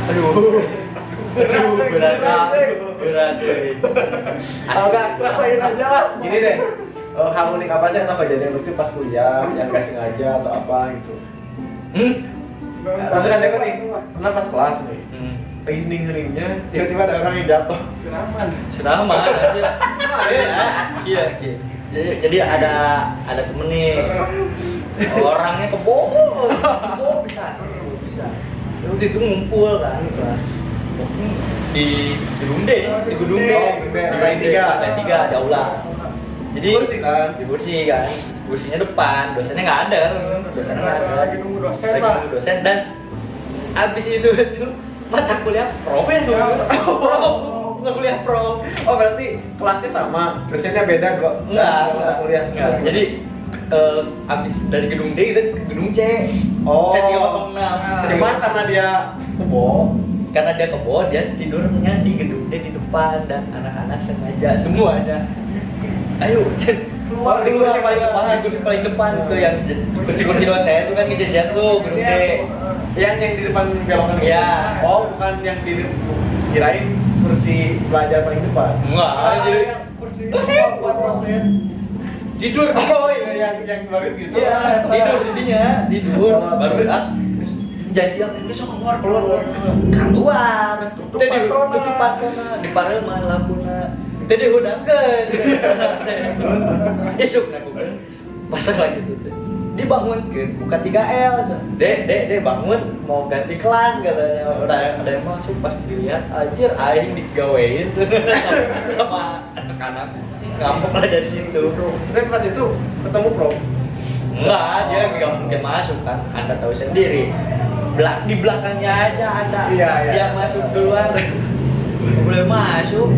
S2: Aduh. Aduh, berat, berat, berat. eh. Asli.
S1: Agak
S3: Rasain aja lah.
S1: gini deh eh, hal unik apa sih atau kejadian lucu pas kuliah yang gak sengaja atau apa gitu
S2: Hmm.
S1: Nah, tapi kan aku nih pernah pas kelas nih
S2: Hmm.
S1: lagi hening-heningnya tiba-tiba ada orang yang jatuh
S3: Siraman.
S2: Serama. anjir. Iya, iya. Jadi, jadi ada ada temen nih. Orangnya kebo, kebo bisa, kebo bisa. Terus itu ngumpul kan, kelas. di Gedungde, di Gedungde,
S3: Oh,
S2: di
S1: Gedungde.
S2: lantai tiga, lantai tiga ada ulang.
S3: Nah,
S2: Jadi
S1: Di kursi kan?
S2: di kursi kan, kursinya depan, dosennya nggak ada, dosennya nggak ada.
S3: Lagi nunggu dosen,
S2: Lagi
S3: Pak.
S2: nunggu dosen dan abis itu itu mata kuliah pro ya tuh, nggak kuliah pro.
S1: Oh berarti kelasnya sama, dosennya beda kok.
S2: Enggak,
S1: Sama mata kuliah.
S2: enggak. Jadi eh, abis dari gedung D kita ke gedung C.
S1: Oh. Ah.
S2: C306.
S1: cuman karena dia kebo,
S2: karena dia kebo dia tidurnya di gedung D di depan dan anak-anak sengaja semua ada. Ayo,
S1: Keluar,
S2: di kursi
S1: keluar.
S2: paling depan, di kursi paling depan tuh yang kursi-kursi doang saya tuh kan ngejajar tuh gedung
S1: Iya,
S2: D.
S1: yang yang di depan belokan itu?
S2: Iya.
S1: Oh bukan yang di kirain kursi belajar paling depan. Ah.
S2: Enggak, jadi
S3: yang kursi
S2: Dosen.
S3: pas dosen.
S2: tidur
S1: Oh iya yang yang baris gitu.
S2: Iya, tidur jadinya, tidur.
S1: Iya.
S2: Baru berat. Terus janjian, besok keluar, keluar,
S3: Nah,
S2: keluar. Keluar.
S3: Tutup
S2: Tadi
S3: patrona.
S2: tutup patrona, di parema lampuna. Tadi udah ke. Esok aku kan pasang lagi tuh. Dibangun ke buka 3L. Dek, dek, dek bangun mau ganti kelas katanya. Udah ada yang masuk pas dilihat anjir aing digawein sama anak-anak. Ngambek lah dari situ.
S1: Tapi pas itu ketemu prof.
S2: Enggak, dia nggak mungkin masuk kan. Anda tahu sendiri. Belak di belakangnya aja ada
S1: Iya, iya.
S2: dia masuk duluan. Nggak boleh masuk.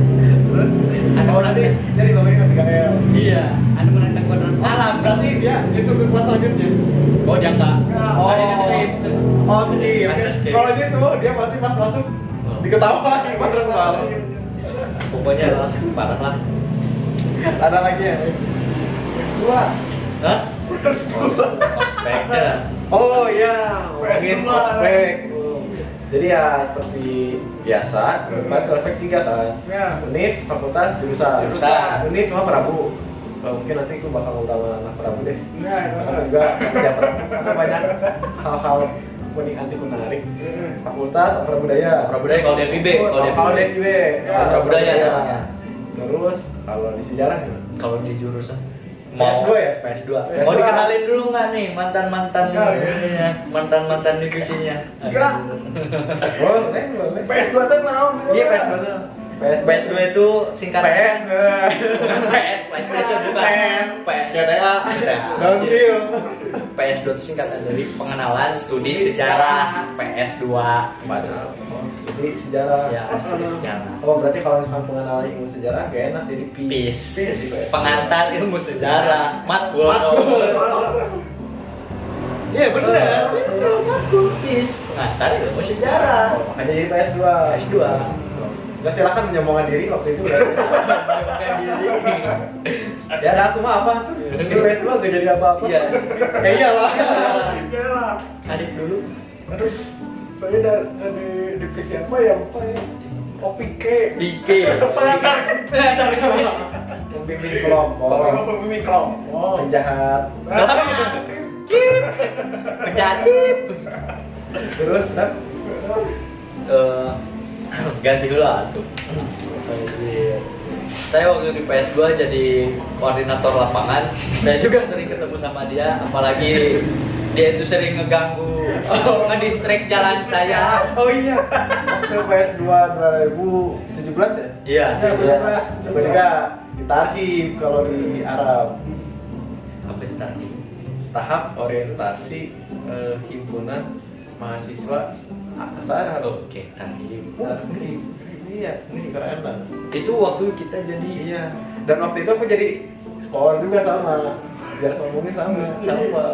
S1: Terus
S2: Ada
S1: oh
S2: orang
S1: nanti
S2: nih.
S1: jadi ngomongin ke 3L.
S2: Iya, Anda menantang kuadran malam berarti
S1: Berarti dia justru ke kelas selanjutnya.
S2: oh dia enggak.
S1: Oh.
S2: Ada yang skip.
S1: Oh sedih.
S2: Ada skip.
S1: Kalau dia semua dia pasti pas masuk
S2: Oh.
S1: diketawain
S3: Nah,
S1: beneran malam.
S2: Pokoknya lah, parah lah.
S1: Ada lagi ya?
S3: Dua.
S2: Hah? Oh,
S3: Terus dua.
S2: Ospeknya.
S1: Oh iya, ngomongin
S3: Flashback.
S1: flashback. Jadi ya seperti biasa, keempat ke efek tiga kan.
S3: Ya.
S1: Unif, fakultas, jurusan.
S2: Jurusan.
S1: Unif semua Prabu. Eh, mungkin nanti aku bakal ngobrol sama anak Prabu deh.
S3: Nah,
S1: Karena juga ya, Prabu. Karena banyak hal-hal unik anti menarik. Fakultas Prabudaya.
S2: Prabudaya kalau di FIB, kalau di
S1: Kalau
S2: FIB.
S1: di FIB,
S3: Ya,
S2: Prabudaya namanya.
S1: Terus kalau di sejarah ya.
S2: Kalau di jurusan
S1: PS2 ya?
S2: PS2.
S1: PS2.
S2: Mau dikenalin dulu nggak nih mantan-mantan
S3: Nggak,
S2: ininya, mantan-mantan divisinya?
S3: Nggak.
S1: boleh, boleh.
S3: PS2 tuh mau.
S1: Iya, PS2. PS
S2: PS2 itu singkatan
S1: PS. eh.
S2: bukan PS, PlayStation bukan
S1: Pen.
S2: PS,
S1: GTA.
S2: GTA.
S1: Downhill.
S2: PS2 itu singkatan dari pengenalan studi sejarah PS2
S1: Padahal. oh, Jadi sejarah.
S2: ya studi sejarah
S1: Oh berarti kalau misalkan pengenalan ilmu sejarah gak enak jadi PIS.
S2: PIS.
S1: PIS. PIS.
S2: pengantar ilmu sejarah matkul iya benar matkul PIS pengantar ilmu sejarah
S1: Oh, makanya jadi PS2.
S2: PS2
S1: Gak silakan menyombongkan diri waktu itu udah. ya ada aku mah apa tuh? Di PS2 gak jadi apa-apa.
S2: iya
S1: Ya iyalah.
S3: Iya lah.
S2: adik dulu
S3: Aduh, saya dari, dari divisi apa ya lupa ya. OPK.
S2: BK
S3: Pengantar.
S1: Pembimbing kelompok,
S3: Pemimpin kelompok. Nah,
S1: penjahat.
S2: Nah, penjatip
S1: Terus nah,
S2: eh ganti dulu lah tuh. Saya waktu di PS2 jadi koordinator lapangan. Saya juga sering ketemu sama dia, apalagi dia itu sering ngeganggu, ngedistract jalan saya.
S1: Oh iya. Waktu PS2 2017 ya?
S2: Iya.
S1: Iya, Coba juga ditarhib kalau di Arab
S2: Apa itu tadi?
S1: tahap orientasi eh, himpunan mahasiswa Ah, sesara loh.
S2: Oke, tadi.
S1: Tarhib. Iya, ini keren lah.
S2: Itu waktu kita jadi
S1: Iya. Dan waktu itu aku jadi sekolah juga sama. Biar ngomongnya sama. Eh,
S2: sama.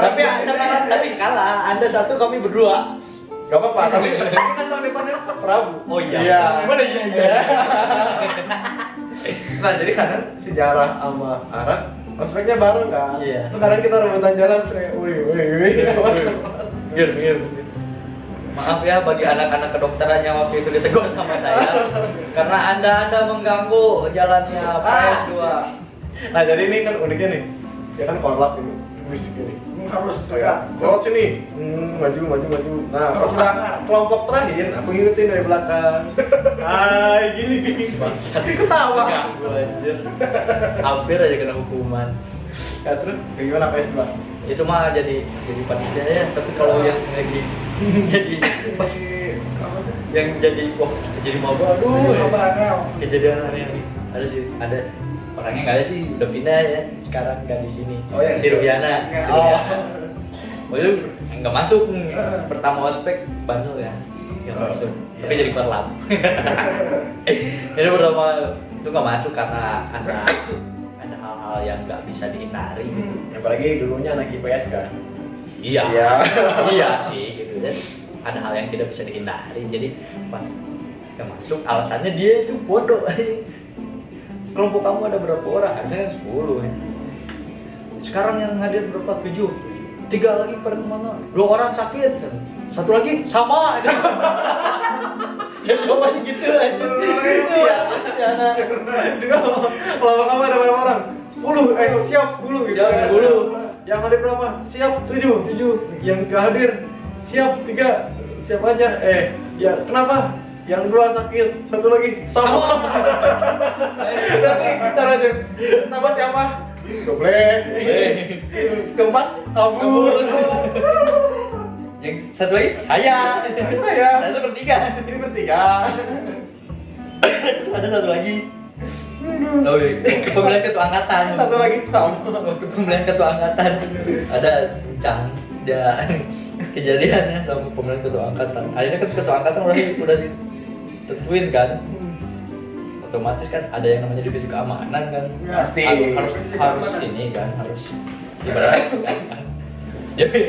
S2: tapi anda masih, tapi kalah. Anda satu, kami berdua.
S1: Gak apa-apa, tapi tapi kan tahun depannya Prabu.
S2: Oh iya.
S1: Iya.
S2: Gimana iya iya?
S1: Nah, jadi kadang sejarah sama Arab Ospeknya bareng kan?
S2: Iya.
S1: Terus Kadang kita rebutan jalan, sering, wih, wih, Iya, wih, Ngir, ngir.
S2: Maaf ya bagi anak-anak kedokteran yang waktu itu ditegur sama saya karena anda-anda mengganggu jalannya PS2.
S1: Nah, jadi ini kan uniknya nih. Dia kan korlap ini. Wis gini.
S3: Harus ya. tegak.
S1: Kayak, lewat
S2: Oh,
S1: Oh iya. sini. Hmm, maju, maju, maju. Nah,
S3: Terus
S1: pas udah kelompok terakhir, aku ngikutin dari belakang. Hai, gini, Iya. gini.
S2: Bangsat.
S1: Ketawa.
S2: Ganggu, anjir. Hampir aja kena hukuman.
S1: Ya, terus kayak gimana PS2?
S2: Itu mah jadi jadi panitia ya, tapi kalau yang lagi jadi pas
S3: Di apa tuh?
S2: yang jadi wah kita jadi maba aduh
S3: Jadi
S2: ya.
S3: maba aneh.
S2: kejadian aneh ini ada sih ada orangnya nggak ada sih udah pindah ya sekarang nggak di sini
S1: Oh, yang-
S2: si Rubiana
S3: Nggak.
S2: si Rubiana. oh itu nggak masuk pertama ospek bandel ya nggak
S1: Oh,
S2: masuk
S1: iya.
S2: tapi jadi korlap itu pertama itu nggak masuk karena ada ada hal-hal yang nggak bisa dihindari gitu
S1: apalagi dulunya anak IPS kan
S2: iya
S1: Iya.
S2: iya sih gitu dan ada hal yang tidak bisa dihindari jadi pas nggak masuk alasannya dia itu bodoh kelompok kamu ada berapa orang ada yang 10 ya. sekarang yang hadir berapa tujuh tiga lagi pada kemana dua orang sakit satu lagi sama jadi jawabannya gitu aja Iya, siap siap
S1: kalau kamu ada berapa orang? 10, eh siap 10 gitu
S2: Siap,
S1: kan.
S2: 10.
S1: Yang hadir berapa? Siap 7 7 Yang gak hadir, siap 3 Siap aja, eh ya kenapa? Yang dua sakit, satu lagi sama Berarti kita lanjut Kenapa siapa? Goblek
S2: keempat kabur yang satu lagi saya
S1: Saya.
S2: saya itu bertiga
S1: Ini bertiga
S2: terus ada satu lagi oh iya. pemilihan ketua angkatan
S1: Satu lagi sama
S2: waktu pemilihan ketua angkatan ada cang dia kejadiannya sama pemilihan ketua angkatan akhirnya kan ketua angkatan udah udah ditentuin kan
S1: Hmm.
S2: otomatis kan ada yang namanya divisi keamanan kan
S3: Ya,
S1: pasti.
S2: harus harus,
S3: Divisi
S2: harus
S3: keamanan.
S2: ini kan harus ibaratnya kan jadi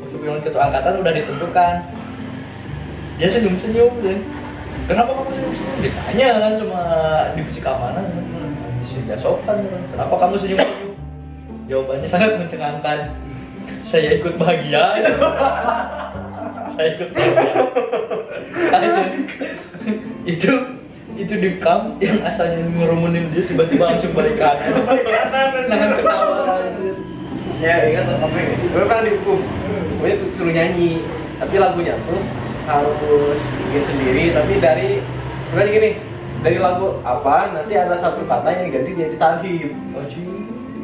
S2: waktu pemilihan ketua angkatan udah ditentukan dia senyum senyum deh kenapa kamu senyum senyum ditanya kan cuma divisi keamanan kan sudah sopan kan. kenapa kamu senyum senyum jawabannya sangat mencengangkan saya ikut bahagia saya ikut bahagia Aja. itu itu di kamp yang asalnya ngerumunin dia tiba-tiba langsung balik kanan balik kanan dengan ketawa anjir.
S1: Ya ingat apa ya? Gue pernah dihukum Gue suruh nyanyi Tapi lagunya tuh harus bikin sendiri Tapi dari Bukan gini Dari lagu apa nanti ada satu kata yang diganti jadi talhib
S2: Oh, cuy.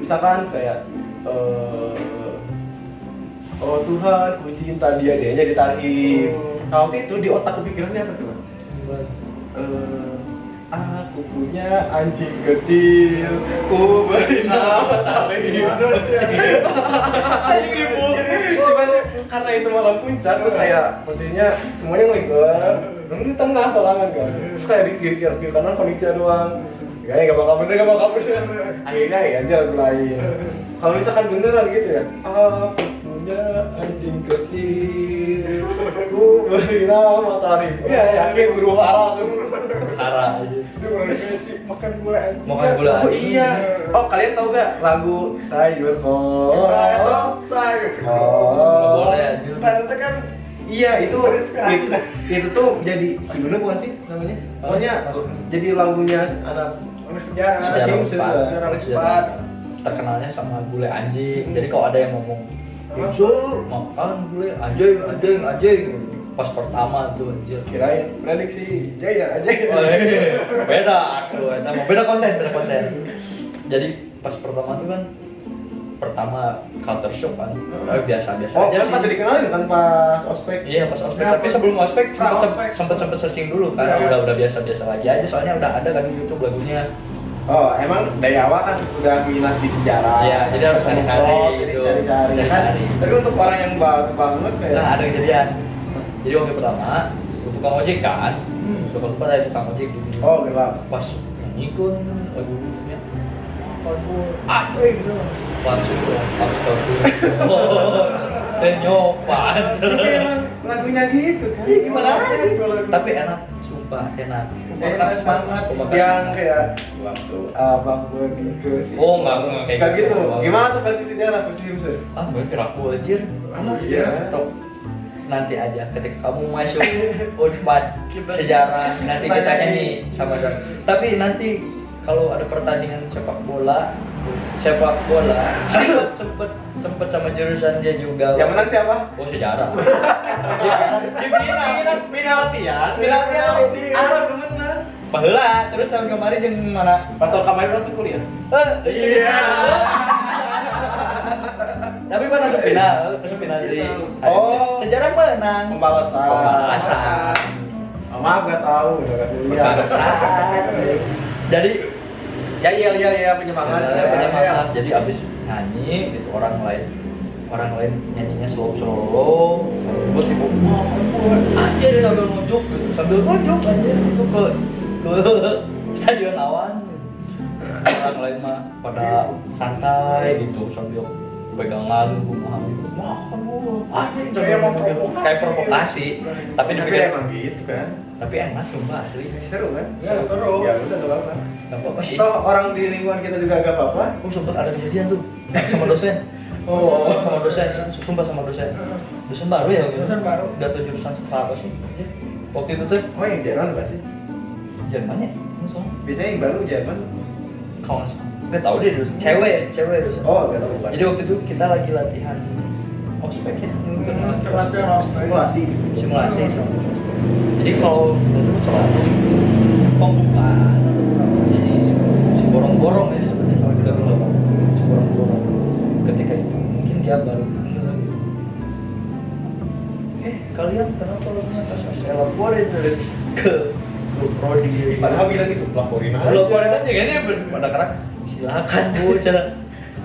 S1: Misalkan kayak eh, Oh Tuhan ku cinta dia Dia jadi talhib Nah waktu itu di otak kepikirannya apa tuh? Eh, aku punya anjing kecil, ku beri nama Talib. anjing ibu. Cuman karena itu malam puncak, terus saya posisinya semuanya ngelihat, Lalu di tengah solangan kan, terus kayak di kiri kiri kiri kanan panitia doang. Kayaknya gak bakal bener, gak bakal bener. Akhirnya ya dia lagu lain. Kalau misalkan beneran gitu ya, aku punya anjing kecil, ku beri nama Talib. Iya, ya, kayak guru hara tuh.
S2: Hara aja.
S3: Itu kurang lebih sih, makan gula anjing.
S2: Makan gula
S1: Oh iya. Oh kalian tahu gak lagu Sayur
S3: Oh,
S1: Kol?
S2: Nggak
S1: Oh.
S2: boleh anjir.
S3: Tante kan
S1: Iya itu
S3: Terinspirasi.
S1: itu, itu tuh jadi gimana bukan sih namanya? Pokoknya jadi lagunya anak
S3: Oleh sejarah.
S2: Sejarah
S1: Hakim
S2: empat.
S1: sudah.
S2: Sejarah
S3: Sejarah
S2: empat.
S3: empat.
S2: Terkenalnya sama gule anjing. Jadi kalau ada yang ngomong
S3: Apa?
S2: "Unsur, makan gule anjing, anjing, anjing. Pas pertama tuh anjir.
S1: kira ya prediksi
S3: Jaya aja.
S2: Oh, iya. beda aku eta mah. beda konten beda konten jadi pas pertama tuh kan pertama counter shock kan biasa biasa
S1: Oh kan
S2: aja sih
S1: pas dikenalin kan pas ospek
S2: Iya pas ospek,
S3: Ya,
S2: tapi
S3: pas-
S2: sebelum ospek
S3: pra-
S2: sempet
S3: ospek.
S2: sempet, sempet searching dulu
S1: Iya.
S2: kan,
S3: Ya.
S2: udah udah biasa biasa lagi aja, soalnya udah ada kan di YouTube lagunya.
S1: Oh emang dari awal kan udah minat di sejarah oh,
S2: Iya, jadi harus cari-cari gitu.
S1: cari
S2: Cari-cari.
S1: Kan, Tapi untuk orang yang baru banget kayak
S2: Nah ada kejadian. Jadi waktu pertama, tukang ojek kan, tukang lupa saya tukang ojek gitu.
S1: Hmm. Oh gelap
S2: pas nyanyi kan lagunya ah eh, gitu langsung langsung kabur Oh, dan nyopan
S1: Tapi emang lagunya gitu kan
S2: Iya, gimana
S1: aja
S2: tapi enak sumpah enak
S1: Enak banget
S2: gitu.
S1: yang kayak waktu abang begitu sih.
S2: Oh, enggak, enggak kayak
S1: Enggak
S2: gitu.
S1: gitu. Gimana tuh versi sejarah versi Simpson?
S2: ah gue keraku anjir
S1: Anak sih
S3: Iya.
S1: ya.
S2: Tok. nanti aja ketika kamu masuk unpad sejarah nanti kita nyanyi sama sama tapi nanti kalau ada pertandingan sepak bola sepak bola sempet sempet sempet sama jurusan dia juga
S1: Yang menang siapa?
S2: Oh sejarah. Di final, final latihan,
S1: Iya,
S2: final latihan.
S1: Arab menang.
S2: Pahala, terus tahun kemarin jeung mana?
S1: Patol Kamaril tuh kuliah.
S2: Eh,
S3: Iya.
S2: Tapi mana ke final, ke final di.
S1: Oh.
S2: sejarah menang.
S1: Pembalasan.
S2: Pembalasan.
S1: Sama maaf nggak tahu udah nggak kuliah
S2: jadi eh,
S1: ya iya iya iya penyemangat
S2: Ada
S1: ya,
S2: penyemangat.
S1: ya.
S2: Jadi abis nyanyi gitu orang lain orang lain nyanyinya slow slow terus tipe wah ampun, anjir sambil nunjuk gitu sambil nunjuk anjir itu ke ke stadion lawan gitu. orang lain mah pada santai gitu sambil pegangan kumaha gitu wah ampun, anjir sambil
S3: Kayak
S2: nunjuk. gitu.
S3: memprovokasi.
S2: kayak provokasi tapi
S1: iya. tapi
S2: dipikir
S1: emang gitu kan
S2: tapi enak coba asli
S1: seru kan
S3: Ya, seru.
S1: ya udah nggak apa-apa
S2: nggak apa-apa sih
S1: toh orang di lingkungan kita juga gak apa-apa
S2: aku Oh, sempet ada kejadian tuh sama dosen
S1: Oh.
S2: Sumpah sama dosen sumpah sama dosen dosen baru ya waktu itu?
S3: Dosen baru.
S2: udah tuh jurusan apa sih waktu itu tuh
S1: oh yang Jerman apa sih
S2: Jerman ya masalah
S1: biasanya yang baru Jerman
S2: kalau nggak salah nggak tahu deh dosen cewek cewek dosen
S1: oh nggak tahu bukan
S2: jadi waktu itu kita lagi latihan ospek ya
S3: terus dia harus
S1: simulasi
S2: simulasi sama jadi kalau itu kalau pembukaan jadi si borong-borong ini sebenarnya kalau kita bilang si borong-borong ketika itu mungkin dia baru mengira gitu. eh kalian kenapa lo ngatas saya laporin tuh ke grup prodi
S1: padahal bilang gitu laporin aja
S2: laporin aja kayaknya pada kerak silakan bu cara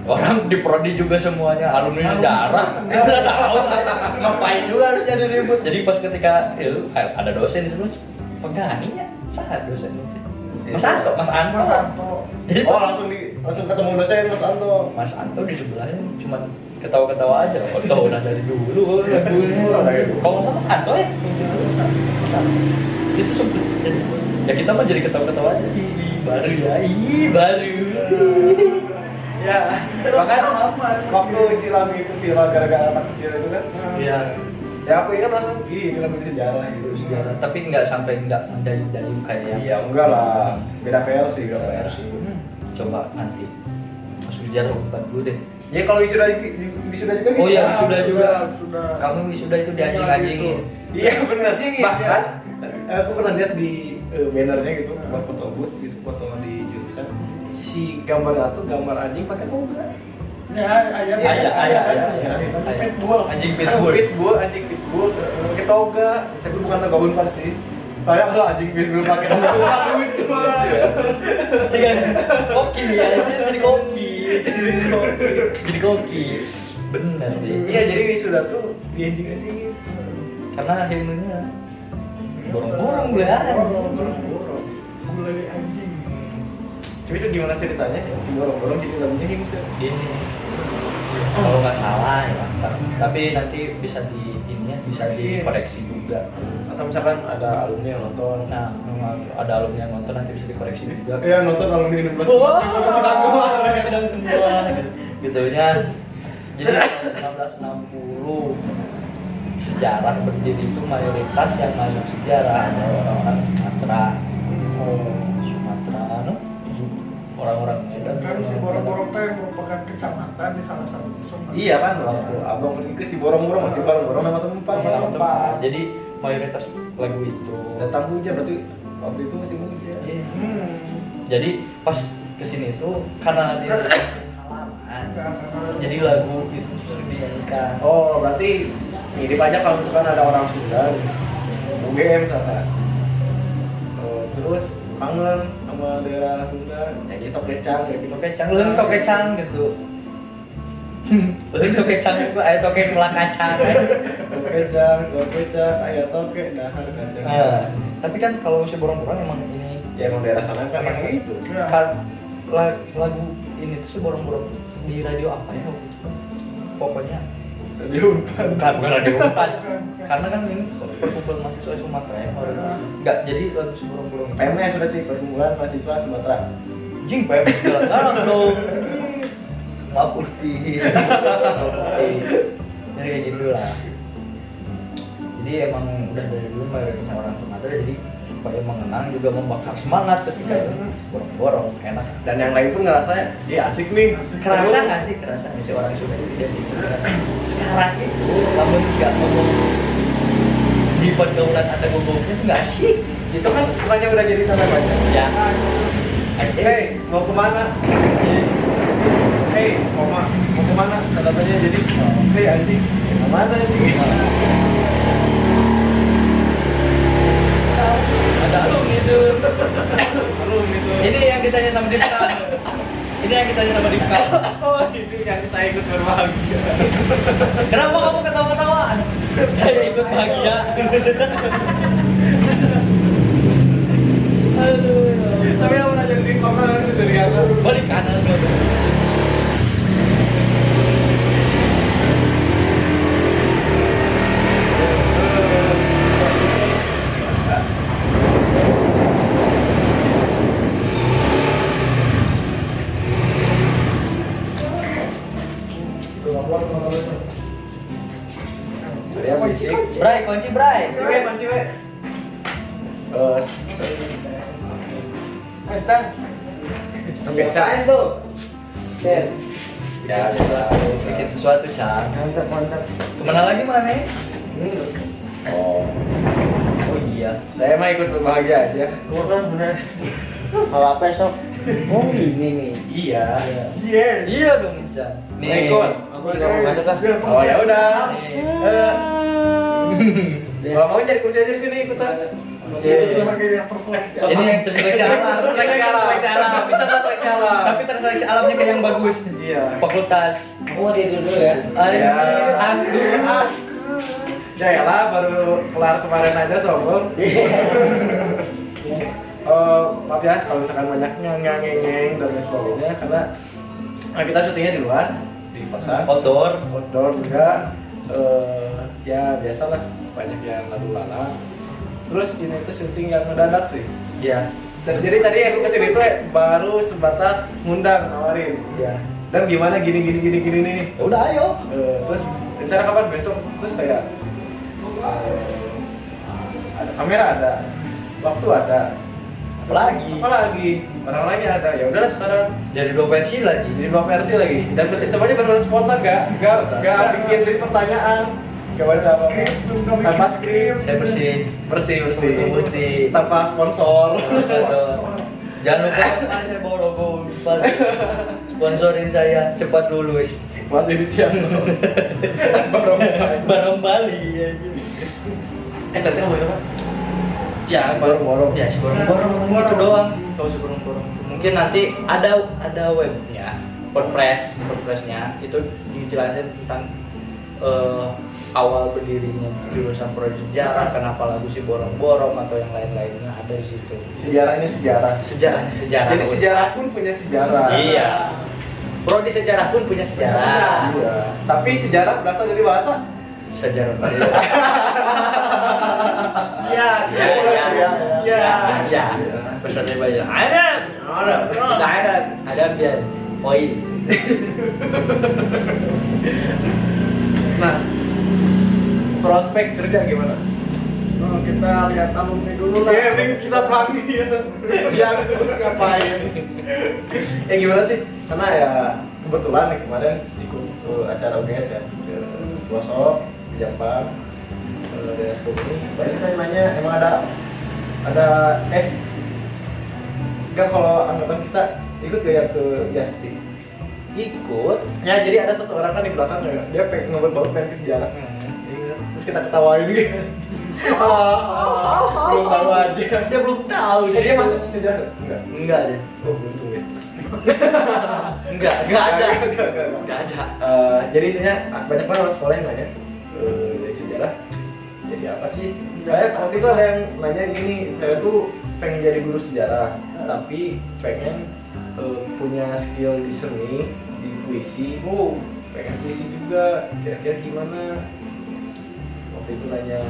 S2: orang di prodi juga semuanya alumni sejarah nggak tahu ngapain juga harus jadi ribut jadi pas ketika ya, lu, eh, ada dosen di sebelah pegani ya saat dosen itu. Mas Anto Mas Anto
S3: Mas Anto.
S2: jadi
S1: oh
S2: pas-
S1: langsung di langsung ketemu dosen Mas Anto
S2: Mas Anto di sebelahnya cuma ketawa-ketawa aja Anto udah dari dulu lagunya kalau nggak salah Mas Anto ya Mas Anto itu sempet jadi ya kita mah jadi ketawa-ketawa aja ih baru ya ih baru
S1: ya
S3: Terus
S1: bahkan
S3: sama.
S1: waktu Islami itu viral gara-gara anak kecil itu kan
S2: ya
S1: ya aku ingat langsung ih ini lagu sejarah gitu
S2: sejarah tapi nggak sampai nggak mendayu-dayu kayak
S1: iya enggak lah beda versi beda versi
S2: Hmm, coba nanti masuk sejarah bukan dulu deh
S1: ya kalau wisuda di- di- wisuda juga
S2: oh
S1: gitu.
S2: iya wisuda juga
S3: wisuda.
S2: kamu wisuda itu dianjing-anjingin
S3: Gitu.
S1: Iya benar.
S3: Anjing, iya.
S1: Bahkan eh, aku pernah lihat di eh, bannernya gitu buat foto booth gitu foto di jurusan si gambar itu gambar anjing pakai toga.
S3: Ya, ayam.
S2: Ayah, ayah, ayah, ayah,
S1: ayah.
S2: ayah.
S3: Pitbull.
S2: Anjing
S1: Pitbull.
S2: pitbull.
S1: Pitbull anjing pitbull eh, pakai toga tapi bukan toga unpar sih. Padahal kalau anjing pitbull pakai toga lucu banget.
S2: Jangan koki ya, jadi jadi koki, jadi koki, jadi koki. Bener sih.
S1: Iya jadi wisuda tuh gitu. di anjing anjingin.
S2: Karena himnenya borong-borong belahan.
S3: Borong-borong. Gulai anjing.
S1: Tapi itu gimana ceritanya? Si borong-borong jadi gitu. lagunya him sih.
S2: Ini kalau nggak salah ya, tapi nanti bisa di ini ya, bisa dikoreksi juga.
S1: Atau misalkan ada alumni yang nonton.
S2: Nah, memang ada alumni yang nonton nanti bisa dikoreksi juga.
S1: Iya nonton alumni 16
S2: Wah, sedang semua gitu. gitunya. ya. Jadi tahun 1960 sejarah berdiri itu mayoritas yang masuk sejarah adalah orang-orang Sumatera, Oh, Sumatera, no? orang-orang Medan.
S3: Kan si borong-borong teh merupakan kecamatan di salah satu Sumatera.
S1: Iya kan waktu abang pergi ke si borong-borong masih borong-borong sama tempat
S2: Orang-orang
S1: sama tempat.
S2: tempat. Jadi mayoritas lagu itu.
S1: Datang hujan berarti waktu itu masih hujan.
S2: Iya.
S3: Hmm.
S2: Jadi pas kesini itu karena di halaman, jadi lagu itu sering dinyanyikan.
S1: Oh berarti mirip aja kalau misalkan ada orang Sunda, UGM misalkan. Eh, terus kangen sama daerah Sunda, ya gitu kecang, kayak gitu
S2: tokecang leuhun tokecang gitu leuhun tokecang itu aya toke ulah kacang
S1: kecang, kecang, ayah toke, dahar kacang.
S2: Nah, tapi kan kalau si borong-borong emang ini
S1: Ya emang daerah sana kan emang itu.
S3: Ya.
S2: kan la- lagu ini tuh si borong-borong di radio apa ya waktu itu? pokoknya
S1: Jadi umpan.
S2: bukan bukan radio Unpad. karena kan ini perkumpulan mahasiswa Sumatera ya mayoritas. nggak jadi lagu si borong-borong
S1: PMS berarti perkumpulan mahasiswa Sumatera.
S2: Jing, PMS jalan-jalan dong. Nggak putih. Nggak putih. Jadi kayak gitulah. Jadi emang udah dari dulu mayoritas orang Sumatera jadi supaya mengenang juga membakar semangat ketika itu borong-borong enak.
S1: Dan yang lain pun ngerasa ya asik nih.
S2: Kerasa
S1: Seru.
S2: nggak sih kerasa nih si orang Sunda itu jadi sekarang itu kamu nggak ngomong di pergaulan ada gogoknya itu nggak asik
S1: Itu kan bukannya udah jadi tanda baca.
S2: ya. Hey,
S1: Hei, mau kemana? Hei, koma, mau kemana? Tanda tanya jadi, hei anjing, kemana anjing?
S3: Nah,
S2: Belum itu. Belum
S1: gitu.
S2: itu. gitu. Ini yang ditanya sama Dipta. Ini yang ditanya sama Dipta.
S4: Oh, itu yang kita ikut berbahagia.
S2: Kenapa kamu ketawa-ketawa? Saya ikut bahagia. Aduh. ya
S4: Tapi
S2: Allah.
S4: yang pernah jadi komen itu dari aku.
S2: Balik kanan.
S1: Sorry ya, berisik.
S2: Bray, kunci Bray.
S4: Cewek, man, cewek.
S1: Eh, sorry.
S5: Kencang.
S1: Oke, Cak.
S5: tuh? Share.
S2: Ya, bikin sesuatu, Cak.
S5: Mantap, mantap.
S2: Kemana lagi, mana?
S1: Oh,
S2: Oh iya.
S1: saya mah ikut berbahagia aja.
S5: Gua kan bener. Kalau apa sok? Oh ini nih.
S1: Iya.
S3: Yes.
S2: Iya dong, Cak.
S1: Ikut.
S5: Aku juga mau masuk ah.
S3: Iya,
S1: Oh ya udah.
S2: Nih.
S1: Eh, kalau mau cari kursi aja di sini ikutan.
S3: Iya, sebagai yang terseleksi.
S2: Ini yang terseleksi alam.
S1: Seleksi alam, seleksi alam. Kita nggak seleksi alam.
S2: Tapi terseleksi alamnya kayak yang bagus.
S1: Iya.
S2: Fakultas. Iya.
S5: Aku mau tidur dulu ya.
S2: Anjir,
S1: Ya.
S2: aku, aku.
S1: Jayalah Ya baru kelar kemarin aja sombong. Eh, maaf ya kalau misalkan banyak nyang ngengeng dan lain sebagainya karena eh, kita syutingnya di luar di pasar
S2: Outdoor.
S1: outdoor juga eh ya biasalah banyak yang lalu lalang terus ini tuh syuting yang mendadak sih
S2: Ya.
S1: Dan jadi tadi aku kesini tuh eh, baru sebatas ngundang nawarin
S2: Ya.
S1: dan gimana gini gini gini gini nih
S2: Ya udah ayo.
S1: Eh, terus rencana kapan besok terus kayak eh, ada kamera ada waktu ada
S2: Apa lagi?
S1: apa lagi orang lainnya ada ya udahlah sekarang
S2: Jadi dua versi lagi.
S1: jadi dua versi lagi dan ber- semuanya benar spontan gak gak gak bikin list pertanyaan gak baca apa
S3: Skrip, nggak bikin
S1: tanpa skrip
S2: Saya bersih.
S1: bersih bersih
S2: Bersih.
S1: tanpa sponsor
S2: Sponsor. Jangan lupa ah, saya bawa logo Unpad. Sponsorin saya cepat lulus.
S1: mas ini siang baru baru
S2: Barang Bali. ya.
S1: eh tadi kamu apa
S2: Ya,
S1: Borong-borong.
S2: Ya, borong-borong itu doang. Kalau borong-borong. Mungkin nanti ada ada webnya, WordPress, WordPressnya itu dijelasin tentang eh, awal berdirinya jurusan prodi sejarah, kenapa lagu si borong-borong atau yang lain-lainnya ada di situ.
S1: sejarahnya sejarah
S2: Sejarahnya sejarah.
S1: jadi sejarah pun punya sejarah
S2: Iya. Prodi sejarah pun punya sejarah.
S1: Iya. tapi sejarah berasal dari bahasa
S2: Sejarah.
S1: iya
S2: Iya, iya, iya. Iya. Pesan dari Bayu. Ada. Bisa ada, ada biar poin.
S1: nah prospek kerja gimana
S3: Nah, kita lihat alumni dulu lah.
S1: Iya, mending kita panggil yang terus ngapain. ya gimana sih? Karena ya kebetulan nih kemarin ikut eh, acara UGS kan, ke Pelosok, di Jampang, eh, di Esko ini. Tadi saya nanya emang ada ada eh enggak kalau anggota kita ikut gak ya ke Justin?
S2: Ikut.
S1: Ya jadi ada satu orang kan di belakang ya, dia pengen ngobrol baru pengen ke sejarah. Ingat, terus kita ketawain gitu. Ah, ah,
S2: Oh,
S1: belum tahu aja.
S2: Dia belum tahu.
S1: Eh, dia masuk sejarah nggak? Enggak.
S2: Enggak ada.
S1: Oh, beruntung ya.
S2: Enggak, enggak ada.
S1: Enggak, enggak, enggak, enggak.
S2: Enggak ada.
S1: Eh, jadi intinya banyak banget orang sekolah yang nanya eh, dari sejarah. Jadi apa sih? Kayak waktu itu ada yang nanya gini, saya tuh pengen jadi guru sejarah, tapi pengen eh, punya skill di seni, di puisi. Oh, pengen puisi juga. Kira-kira gimana? Waktu itu nanya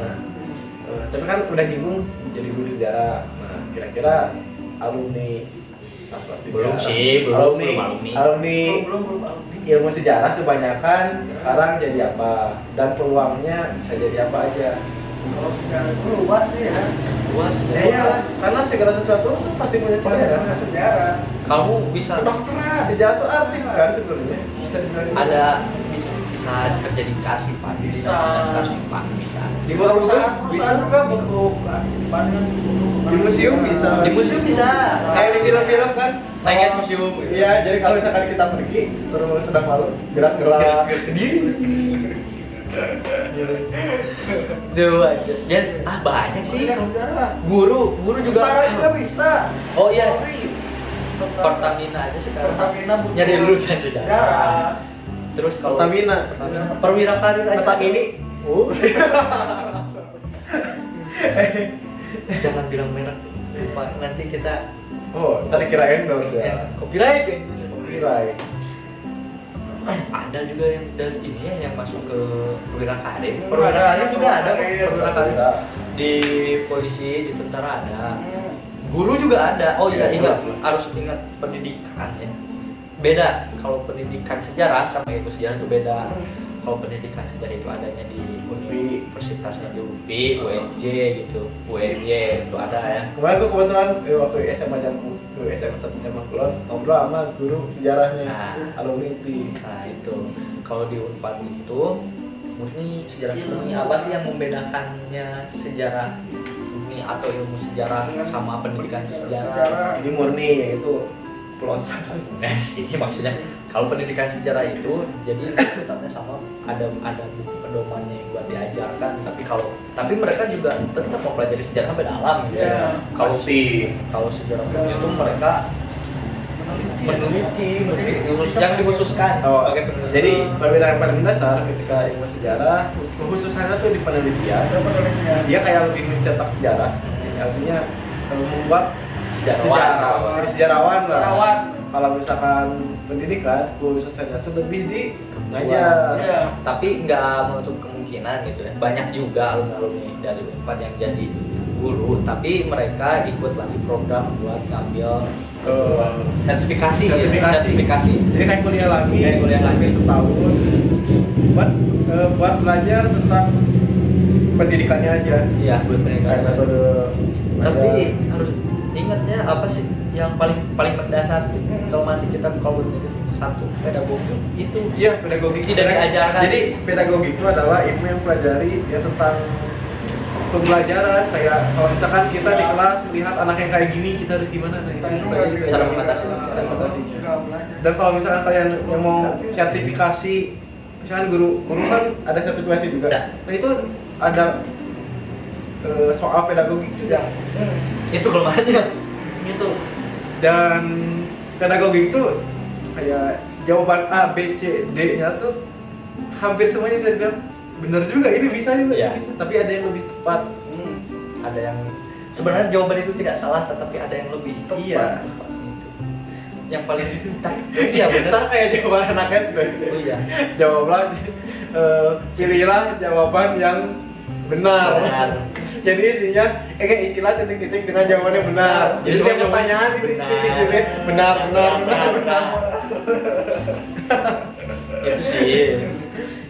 S1: Eh, tapi kan udah nyinggung jadi guru sejarah. Nah, kira-kira alumni Asma Sejarah.
S2: Belum sih, belum,
S1: alumni,
S2: belum alumni.
S1: alumni
S3: Belum, belum, belum alumni.
S1: ilmu sejarah kebanyakan sekarang jadi apa dan peluangnya bisa jadi apa aja.
S3: Kalau sekarang itu luas sih ya.
S2: Luas.
S1: Ya, ya, karena segala sesuatu tuh pasti punya
S2: ya?
S1: sejarah.
S3: Banyak sejarah.
S2: Kamu bisa
S1: Kedokteran, sejarah tuh arsip kan sebenarnya. Bisa dibilang gitu.
S2: ada bisa, bisa kerja di karsipan, di
S3: Bisa.
S2: dinas karsipan bisa.
S1: di
S3: Perusahaan,
S1: perusahaan,
S3: perusahaan
S1: bisa.
S3: juga butuh kearsipan kan butuh
S1: Di museum bisa.
S2: Di museum bisa.
S1: Kayak di film-film kan,
S2: Naiknya museum. gitu.
S1: Iya, jadi kalau misalkan kita pergi terus sedang malu gerak-gerak Iya.
S2: Gerak-gerak sendiri. Duh aja. Ya ah banyak sih.
S1: Iya.
S3: Banyak sejarah.
S2: Guru, guru juga.
S3: Tentara juga bisa.
S2: Oh iya.
S3: Polri, tentara.
S2: Pertamina aja sekarang.
S3: Pertamina butuh
S2: Nyari lulusan sejarah.
S3: sejarah.
S2: Terus kalau
S1: Pertamina.
S2: Pertamina. Perwira karir aja.
S1: Petang ini. Uh.
S2: Jangan bilang merek. Lupa. Nanti kita
S1: Oh, tadi kira endorse ya.
S2: eh, copyright. ya.
S1: Nilai.
S2: Ada juga yang dari ini ya yang masuk ke perwira karir.
S3: Perwira
S2: Perwira karir juga
S3: karir,
S2: ada. kok.
S3: perwira
S2: Perwira karir
S1: Ada.
S2: di polisi, di tentara ada.
S3: Hmm.
S2: Guru juga ada. Oh
S1: Iya,
S2: iya, ingat
S1: jelas.
S2: harus ingat pendidikan ya. Beda kalau pendidikan sejarah sama ilmu sejarah itu beda. Kalau pendidikan sejarah itu adanya di universitasnya di UPI, UNJ gitu, UNY itu ada ya.
S1: Kemarin tuh kebetulan eh, waktu SMA jamku, tuh SMA satu jam kulon, ngobrol sama guru sejarahnya,
S2: Nah.
S1: alumni IPI.
S2: Nah itu kalau di Unpad itu murni sejarah murni apa sih yang membedakannya sejarah murni atau ilmu sejarah sama pendidikan sejarah?
S3: Sejarah.
S1: Jadi murni ya, yaitu pelosan.
S2: Nah, sih maksudnya kalau pendidikan sejarah itu jadi tetapnya sama ada ada buku pedomannya yang buat diajarkan tapi kalau tapi mereka juga tetap mempelajari sejarah berdalam gitu
S3: Iya.
S2: ya. Kalau
S1: Pasti.
S2: kalau sejarah murni itu mereka meneliti, meneliti yang dikhususkan
S1: Oh,
S2: sebagai peneliti.
S1: jadi perbedaan yang paling mendasar ketika ilmu sejarah khususannya tuh di penelitian.
S3: Ada penelitian.
S1: Dia kayak lebih mencetak sejarah, artinya eh, membuat
S2: Sejarawan.
S1: Jadi sejarawan lah.
S3: Sejarawan.
S1: Kalau misalkan pendidikan, khususnya itu lebih di
S3: Iya.
S1: ngajar.
S2: tapi nggak menutup kemungkinan gitu ya banyak juga alumni dari Unpad yang jadi guru tapi mereka ikut lagi program buat ngambil
S1: Ke
S2: sertifikasi ya,
S1: Sertifikasi.
S2: sertifikasi
S1: jadi kayak kuliah lagi,
S2: Kayak kuliah lagi.
S1: setahun buat eh, buat belajar tentang pendidikannya aja.
S2: iya buat mereka
S1: Kayak Iya. metode
S2: tapi harus ingatnya apa sih yang paling paling mendasar gitu?
S1: Hmm.
S2: kalau mandi kita kalau buat jadi satu pedagogi itu
S1: Iya, pedagogi
S2: Tidak diajarkan.
S1: Jadi pedagogi itu adalah ilmu yang pelajari ya tentang pembelajaran kayak kalau misalkan kita di kelas melihat anak yang kayak gini kita harus gimana nah itu yang pelajari
S2: Cara mengatasi.
S1: Cara mengatasinya.
S3: Nggak belajar.
S1: dan kalau misalkan kalian yang mau sertifikasi misalkan guru guru kan ada sertifikasi
S2: Ada.
S1: juga nah itu ada eh, soal pedagogi juga
S3: Hmm.
S2: itu kelemahannya itu
S1: dan pedagogi itu kayak jawaban A B C D nya tuh hampir semuanya bisa dibilang benar juga ini bisa ini
S2: Iya.
S1: bisa tapi ada yang lebih tepat
S3: Hmm.
S2: ada yang sebenarnya jawaban itu tidak salah tetapi ada yang lebih tepat
S1: Iya.
S2: Gitu. yang paling iya benar
S1: Ntar kayak jawaban anak SD
S2: Oh iya.
S1: jawablah eh, pilihlah jawaban yang benar.
S2: Benar.
S1: Jadi isinya eh kayak istilah titik-titik dengan jawabannya benar. Nah, Jadi
S2: Jadi
S1: setiap
S2: semua
S1: pertanyaan
S2: jawaban
S1: titik-
S2: benar.
S1: titik-titik gitu ya. benar benar benar benar.
S2: itu sih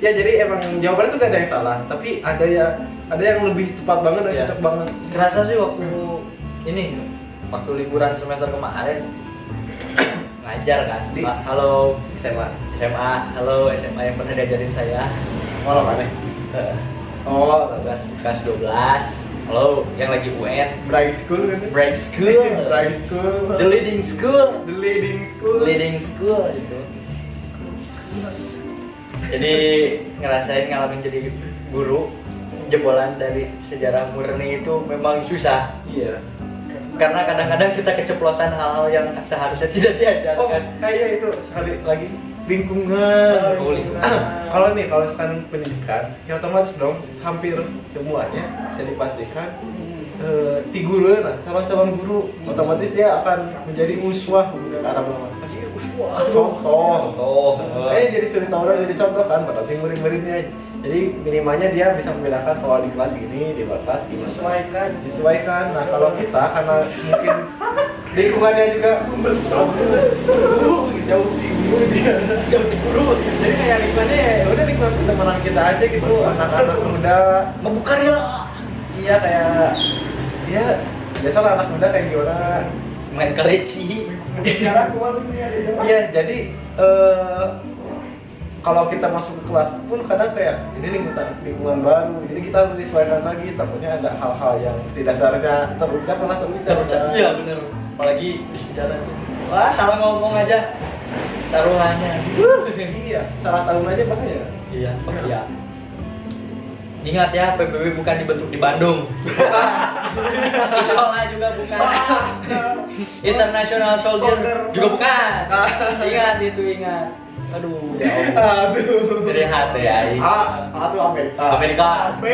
S1: Ya jadi emang jawabannya tuh gak ada yang salah, tapi ada ya ada yang lebih tepat banget dan
S2: Iya.
S1: cocok banget.
S2: kerasa sih waktu ini waktu liburan semester kemarin ngajar kan
S1: Di-
S2: Pak, halo
S1: SMA.
S2: SMA halo SMA yang pernah diajarin saya
S1: Malam aneh.
S2: Eh,
S1: Oh,
S2: kelas kelas 12 halo yang lagi UN
S1: Bright School kan?
S2: Bright School
S1: Bright School.
S2: The Leading School
S1: The leading school.
S2: leading school gitu jadi ngerasain ngalamin jadi guru jebolan dari sejarah murni itu memang susah
S1: Iya.
S2: karena kadang-kadang kita keceplosan hal-hal yang seharusnya tidak
S1: Oh,
S2: diajarkan
S1: kayak itu sekali lagi lingkungan.
S2: iya. Oh, lingkungan.
S1: Ah, kalau nih kalau sekarang pendidikan, ya otomatis dong hampir semuanya bisa dipastikan eh, di guru nah calon-calon guru otomatis dia akan menjadi uswah gitu ke arah mana.
S2: Iya,
S1: Contoh.
S2: oh
S1: Saya jadi suri tauran jadi contoh kan berarti murid-muridnya. Jadi minimalnya dia bisa membedakan kalau di kelas gini, di luar kelas gimana.
S3: Sesuaikan.
S1: Disesuaikan. Nah kalau kita karena mungkin lingkungannya juga membentuk, jauh tinggi dia.
S2: jauh guru
S1: Jadi kayak lingkungannya ya udah lingkungan pertemanan kita aja gitu, anak-anak muda.
S2: ngebuka dia
S1: Iya kayak, ya biasalah anak muda kayak gimana.
S2: main kereci
S3: Sejarah keluar ini ada jawaban.
S1: Iya, jadi eh, kalau kita masuk ke kelas pun kadang kayak ini lingkungan lingkungan baru, jadi kita harus disesuaikan lagi. Takutnya ada hal-hal yang tidak seharusnya terucap malah terucap.
S2: terucap iya bener apalagi di sejarah tuh wah salah ngomong aja taruhannya
S1: Iya, salah tahun aja bahaya.
S2: iya pak iya Ingat ya, PBB bukan dibentuk di Bandung. Bukan. Isola juga bukan. International Soldier
S3: Soldier.
S2: juga bukan. Ingat itu ingat. Aduh, ya Allah.
S4: Aduh.
S2: Dari hati ya. ini.
S1: Ah.
S4: A, A tuh Amerika.
S2: Amerika,
S4: B,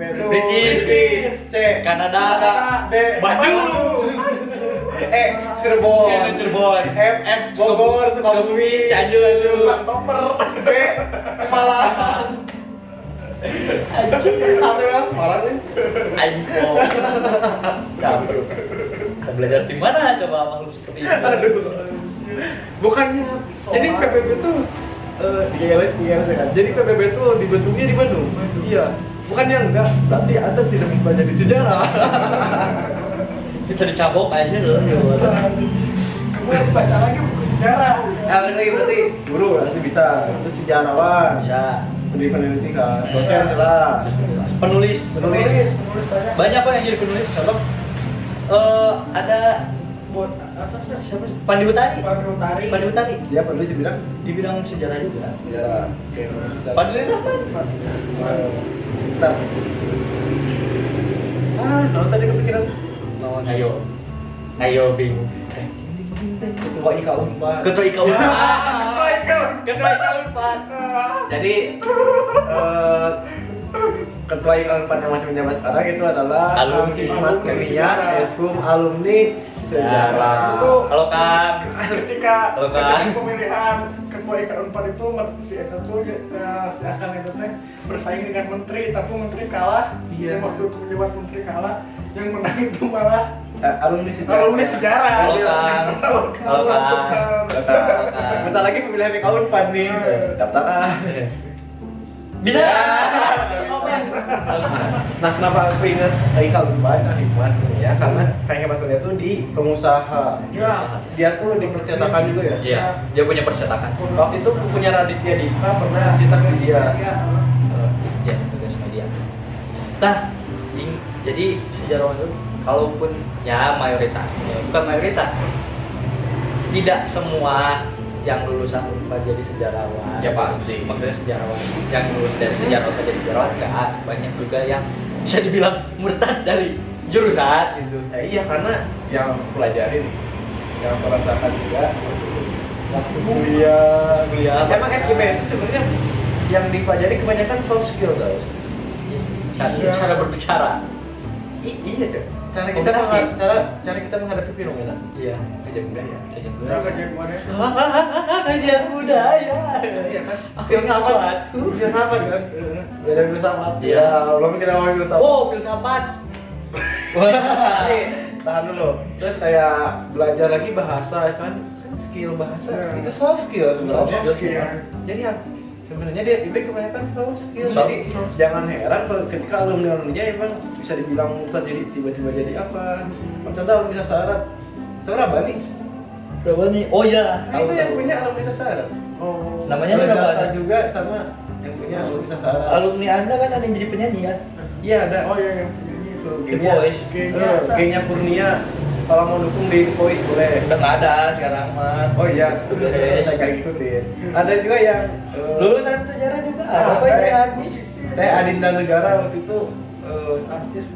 S4: B tuh
S2: British.
S4: C,
S2: Kanada,
S4: D,
S2: Bandung, Iya,
S4: E, Cirebon.
S2: Cirebon,
S4: F, F, Bogor, Sukabumi,
S2: Cianjur,
S4: Toper, B, Malang. Atau ya, Semarang nih.
S2: Aiko. Kamu. Kita belajar di mana coba makhluk seperti itu?
S1: Bukannya. Jadi PBB tuh eh digelet digelet kan. Jadi PBB tuh dibentuknya di Bandung. Iya. Bukannya enggak, berarti Anda tidak mempelajari sejarah.
S2: Kita dicabok aja loh.
S3: Gue baca lagi buku sejarah.
S1: Ya, balik lagi berarti guru pasti bisa. Terus sejarawan,
S2: Bisa.
S1: peneliti peneliti kan,
S2: Hmm.
S1: dosen jelas.
S2: Penulis,
S1: Penulis.
S3: Penulis banyak.
S2: Banyak kok yang jadi penulis. Contoh, eh, ada
S3: Buat apa sih? Siapa sih?
S2: Pandi Utari.
S3: Pandu Utari.
S2: Pandi Utari
S1: Dia penulis di bidang
S2: di bidang sejarah juga.
S1: sejarah.
S2: Pandi Utari apa?
S1: Eh, Bentar. Ah, kalau tadi kepikiran.
S2: Lawan Ayo. Ayo bingung.
S1: Ketua Ika Unpad.
S2: Ketua Ika Unpad.
S3: Ketua Ikon.
S2: Ketua Ika Unpad.
S1: Jadi eh, ketua Ilmuwan yang masih menjabat sekarang itu adalah
S2: Alumni.
S1: Ahmad Kurnia Eshum Alumni Sejarah.
S3: Itu
S2: Halo Kang.
S3: ketika
S2: Halo, Kak.
S3: ketika pemilihan ketua IKN Unpad itu si Eka tuh eh, si Akan itu teh bersaing dengan menteri tapi menteri kalah
S1: Iya.
S3: yang waktu itu menjabat menteri kalah yang menang itu malah
S1: Eh, alumni Sejarah.
S3: alumni sejarah
S2: Halo Kang.
S3: Halo, Kang.
S2: Halo Kang.
S3: Halo,
S1: Bentar,
S2: Halo, Kang.
S1: bentar lagi pemilihan Ika Unpad nih. Eh, Daftar ah.
S2: Bisa. Iya.
S1: Nah, kenapa aku ingat Ika Unpad? Nah, hikmat ya karena kayak Ahmad Kurnia tuh di pengusaha.
S3: Ya.
S1: Dia tuh di percetakan juga ya.
S2: Iya, dia punya percetakan.
S1: Waktu itu punya Raditya Dika pernah cetak ke dia.
S3: Iya.
S1: Eh,
S2: ya tugas media nah ing- jadi sejarawan itu kalaupun ya mayoritas ya, bukan mayoritas tidak semua yang lulusan UNPAD jadi sejarawan
S1: Ya, pasti.
S2: maksudnya sejarawan yang lulus dari sejarawan ke jadi sejarawan enggak banyak juga yang bisa dibilang murtad dari jurusan gitu
S1: Ya, iya karena yang pelajarin yang merasakan juga waktu kuliah
S2: kuliah
S1: emang FGB itu sebenarnya yang dipelajari kebanyakan soft skill tau
S2: Yes, cara,
S1: Iya.
S2: cara berbicara
S1: I- iya cok cara kita
S2: Komunikasi.
S1: mengha- cara cara kita menghadapi fenomena
S2: iya
S1: aja mudah ya
S2: kayak gitu.
S3: Udah kejagoan ya.
S2: ajar budaya
S1: Iya kan?
S2: aku yang sahabat
S1: filsafat kan belajar filsafat
S2: Iya.
S1: belum kita ngomongin filsafat
S2: Oh, filsafat. Wah.
S1: Nih, tahan dulu terus kayak belajar lagi bahasa kan skill bahasa
S3: Iya.
S1: itu soft skill iya. sebenarnya
S3: Soft skill.
S1: jadi ya sebenarnya dia IPB kebanyakan soft skill
S2: Soft
S1: jadi
S2: skill.
S1: jangan heran kalau ketika alumni alumninya emang bisa dibilang murtad jadi tiba-tiba jadi apa contoh alumni sasarat sasarat apa nih
S2: Berapa nih? Oh iya,
S1: Nah, itu yang punya alumni sasarat
S3: Oh.
S2: Namanya
S1: Terus
S2: berapa?
S1: Zata juga sama yang punya alumni sasarat
S2: Alumni Anda kan ada yang jadi penyanyi kan? Iya.
S1: iya ada
S3: Oh iya yang penyanyi itu.
S2: The
S1: Iya.
S2: Voice.
S3: Gengnya.
S1: Eh, gengnya Kurnia kalau mau dukung di voice boleh
S2: Udah nggak ada sekarang mah.
S1: Oh iya,
S2: Yes.
S1: saya kayak ngikutin. Ada juga yang eh,
S2: Lulusan sejarah juga.
S3: Ah,
S2: Apa yang
S3: eh,
S1: iya.
S2: lagi?
S1: Teh Adinda Negara waktu itu eh, artis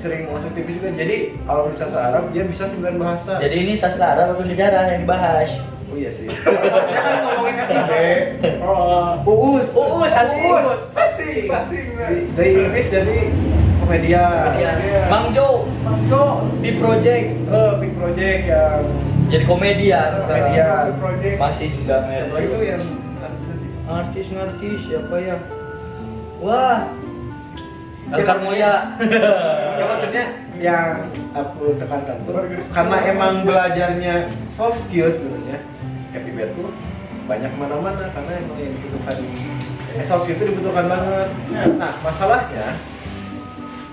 S1: sering masuk TV juga. Jadi kalau bisa searab dia bisa sembilan bahasa.
S2: Jadi ini sastra atau sejarah yang dibahas?
S1: oh iya sih.
S3: Jangan ngomongin FGB.
S1: Oh, Uus,
S2: Uus, asli.
S1: Uus.
S3: Sasing, sasing.
S1: Di- Dari Inggris jadi komedian.
S2: Kemudian
S3: Iya.
S2: Bang Jo
S3: Mangjo.
S2: di project
S1: Eh, big project yang
S2: jadi komedian
S1: Ah,
S2: sekarang.
S1: Komedian.
S3: Project.
S2: Masih juga
S1: yang
S2: ngerti.
S1: itu yang artisnya sih.
S2: Artis-artis siapa yang Wah.
S1: Ya,
S2: Elkar Moya.
S1: Ya maksudnya yang aku tekankan tuh
S3: Burger.
S1: karena emang belajarnya soft skill sebenarnya happy bed tuh banyak mana-mana karena emang yang dibutuhkan eh, soft skill itu dibutuhkan banget.
S3: Ya.
S1: Nah masalahnya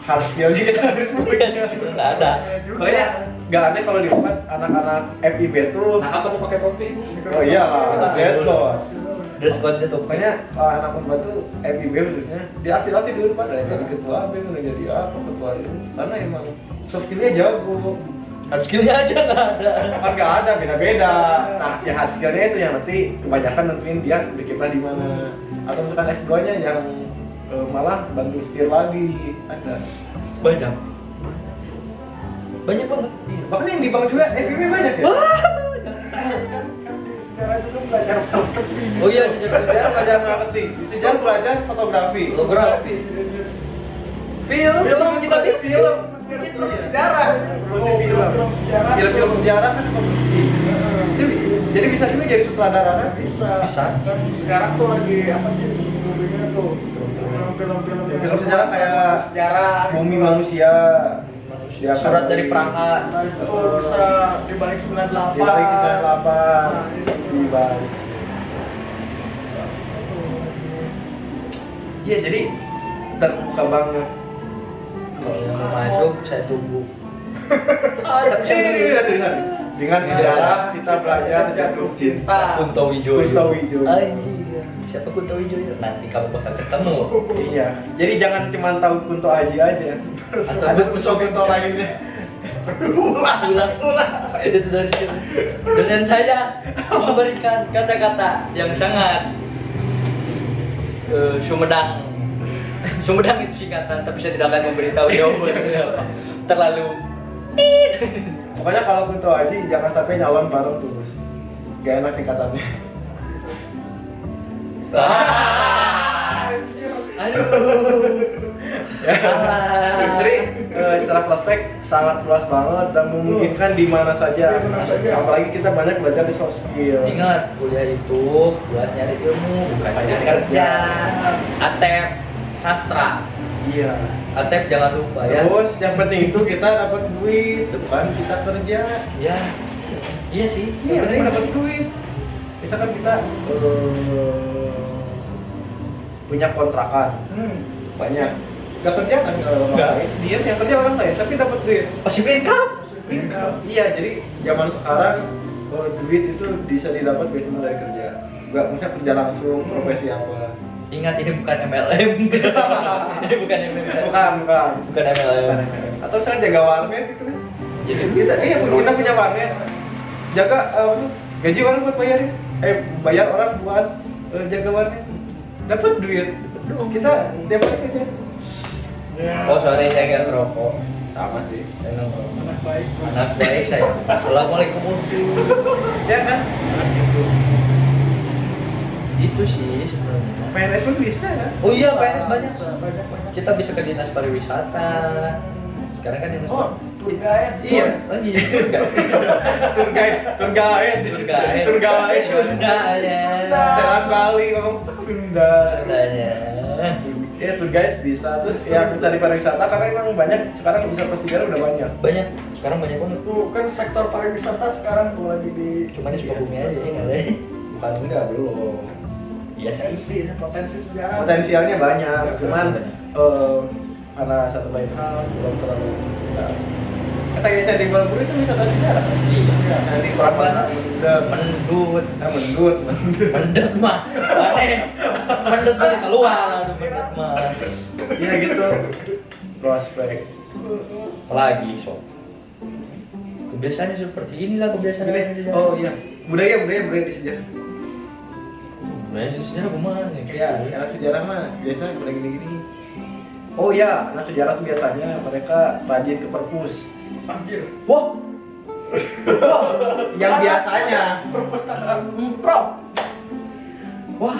S1: hard skill juga kita harus punya.
S2: Iya. Nggak ada.
S3: Iya
S1: Soalnya nggak ada kalau di tempat anak-anak FIB tuh.
S4: Nah, kamu pakai topi?
S1: Oh iya lah, dress code.
S2: Dress code-nya tuh
S1: Pokoknya kalau anak pemba tuh FIB khususnya dia aktif-aktif di depan dari jadi ketua B udah jadi apa ketua itu karena emang soft skillnya jago
S2: hard skillnya aja nggak ada
S1: kan nggak ada beda-beda nah si hard skillnya itu yang nanti kebanyakan nentuin dia bikinnya di mana atau misalkan S2 nya yang eh, malah bantu setir lagi ada
S2: banyak banyak banget Iya.
S1: bahkan yang di bank juga FIB banyak ya
S3: kan kan di sejarah juga belajar marketing
S2: oh iya
S1: Di sejarah belajar marketing di sejarah belajar fotografi
S2: fotografi
S1: film
S2: Film, kita bikin film.
S1: bikin film sejarah
S3: Oh, film-film sejarah.
S1: film-film sejarah kan produksi Jadi- jadi bisa juga jadi sutradara kan
S3: bisa
S2: Bisa.
S3: kan sekarang tuh lagi apa sih judulnya tuh film-film film
S1: Film sejarah kayak
S3: sejarah
S1: bumi manusia manusia
S2: surat dari perang A
S3: nah itu bisa dibalik 98
S1: di balik Nah, 98 di balik
S3: Bisa tuh lagi.
S1: iya jadi terbuka banget
S2: Kalau mau masuk saya tunggu
S1: Iya,
S2: ah tapi saya
S1: Ini, ini, ini,
S2: tunggu.
S1: ini, ini. dengan sejarah kan? Iya. kita belajar jatuh cinta
S2: Kunto Wijoyo
S1: Kunto Wijoyo.
S2: Anjir. Ah, iya. siapa Kunto Wijoyo nanti kamu bakal ketemu
S1: iya jadi jangan cuma tahu Kunto Aji aja
S2: Atau
S1: ada
S2: Kunto
S1: Kunto-Kunto
S2: Wijoyo.
S1: lainnya
S2: ulang ulang itu dari situ. dosen saya memberikan kata-kata yang sangat eh, sumedang sumedang itu singkatan tapi saya tidak akan memberitahu jawaban terlalu
S1: pokoknya kalau Kunto Aji jangan sampai nyalon bareng tulus gak enak singkatannya
S2: Ah. aduh
S1: Iya.
S2: Ah.
S1: Jadi eh, secara flashback sangat luas banget dan memungkinkan di mana saja.
S3: Di mana saja.
S1: Apalagi kita banyak belajar di soft skill.
S2: Ingat, kuliah itu buat nyari ilmu, bukan nyari kerja. Atep, sastra.
S1: Iya.
S2: Atep jangan lupa ya.
S1: Terus yang penting itu kita dapat duit, bukan kita kerja.
S2: Ya, iya sih. Iya.
S1: Yang penting
S2: bener.
S1: dapat duit. Misalkan kita eh, punya kontrakan
S3: Hmm.
S1: banyak, nggak kerja kan kalau orang
S2: Nggak.
S1: lain. Dia yang kerja orang lain, tapi dapat duit.
S2: Masih income.
S1: Iya, jadi zaman sekarang eh, duit itu bisa didapat duit cuma dari kerja. Gak misalnya kerja langsung profesi apa.
S2: Ingat ini bukan MLM. ini bukan MLM.
S1: Eh, Bukan, bukan.
S2: Bukan MLM.
S1: Atau misalnya jaga warnet gitu kan.
S2: Jadi
S1: Kita iya kita punya warnet. Jaga eh, gaji orang buat bayarin. Eh bayar orang buat eh, jaga warnet. Dapat duit. Kita tiap hari kerja.
S3: Ya.
S2: Oh sorry saya nggak ngerokok.
S1: Sama sih.
S2: Saya nggak ngerokok.
S3: Anak baik.
S2: Anak baik saya. Assalamualaikum.
S1: Ya kan?
S2: Itu sih sebenarnya.
S1: PNS pun bisa kan?
S2: Oh iya, PNS banyak.
S3: banyak banyak.
S2: Kita bisa ke dinas pariwisata. Sekarang kan dinas
S3: Oh, tuh ya.
S2: Iya, lagi
S1: Tour guide, tour guide,
S2: Tour guide.
S1: Tour guide.
S2: Sunda ya.
S1: Selat Bali ngomong Sunda.
S2: Sundanya.
S1: Ya tour guys bisa terus yang dari pariwisata karena emang banyak sekarang bisa sejarah udah banyak.
S2: Banyak. Sekarang banyak banget.
S3: Tuh kan sektor pariwisata sekarang tuh lagi di
S2: Cuman di Sukabumi aja ya, nggak ada.
S1: Bukan enggak belum.
S2: Iya sih.
S3: potensi ya, potensi sejarah.
S1: Potensialnya banyak, cuman
S2: Banyak.
S1: em, karena satu lain hal belum terlalu. Nah, kata kita di Borobudur itu wisata sejarah.
S2: Iya.
S1: Nah, di Prambanan udah
S2: Mendut,
S1: nah, mendut, mendut.
S2: mendet mah. Aneh. Mendet mah keluar, aduh, mendet mah.
S1: Iya gitu. Prospek.
S2: Apalagi sob. Kebiasaannya seperti inilah kebiasaan
S1: Ini,
S2: orang di
S1: oh iya, budaya budaya budaya di sejarah.
S2: Budaya di sejarah kemana?
S1: Iya, anak sejarah mah biasa pada gini-gini. Oh iya, anak sejarah tuh biasanya mereka rajin ke perpus.
S3: Anjir.
S2: Wah,
S1: Yang biasanya,
S3: Perpustakaan Prop.
S2: wah.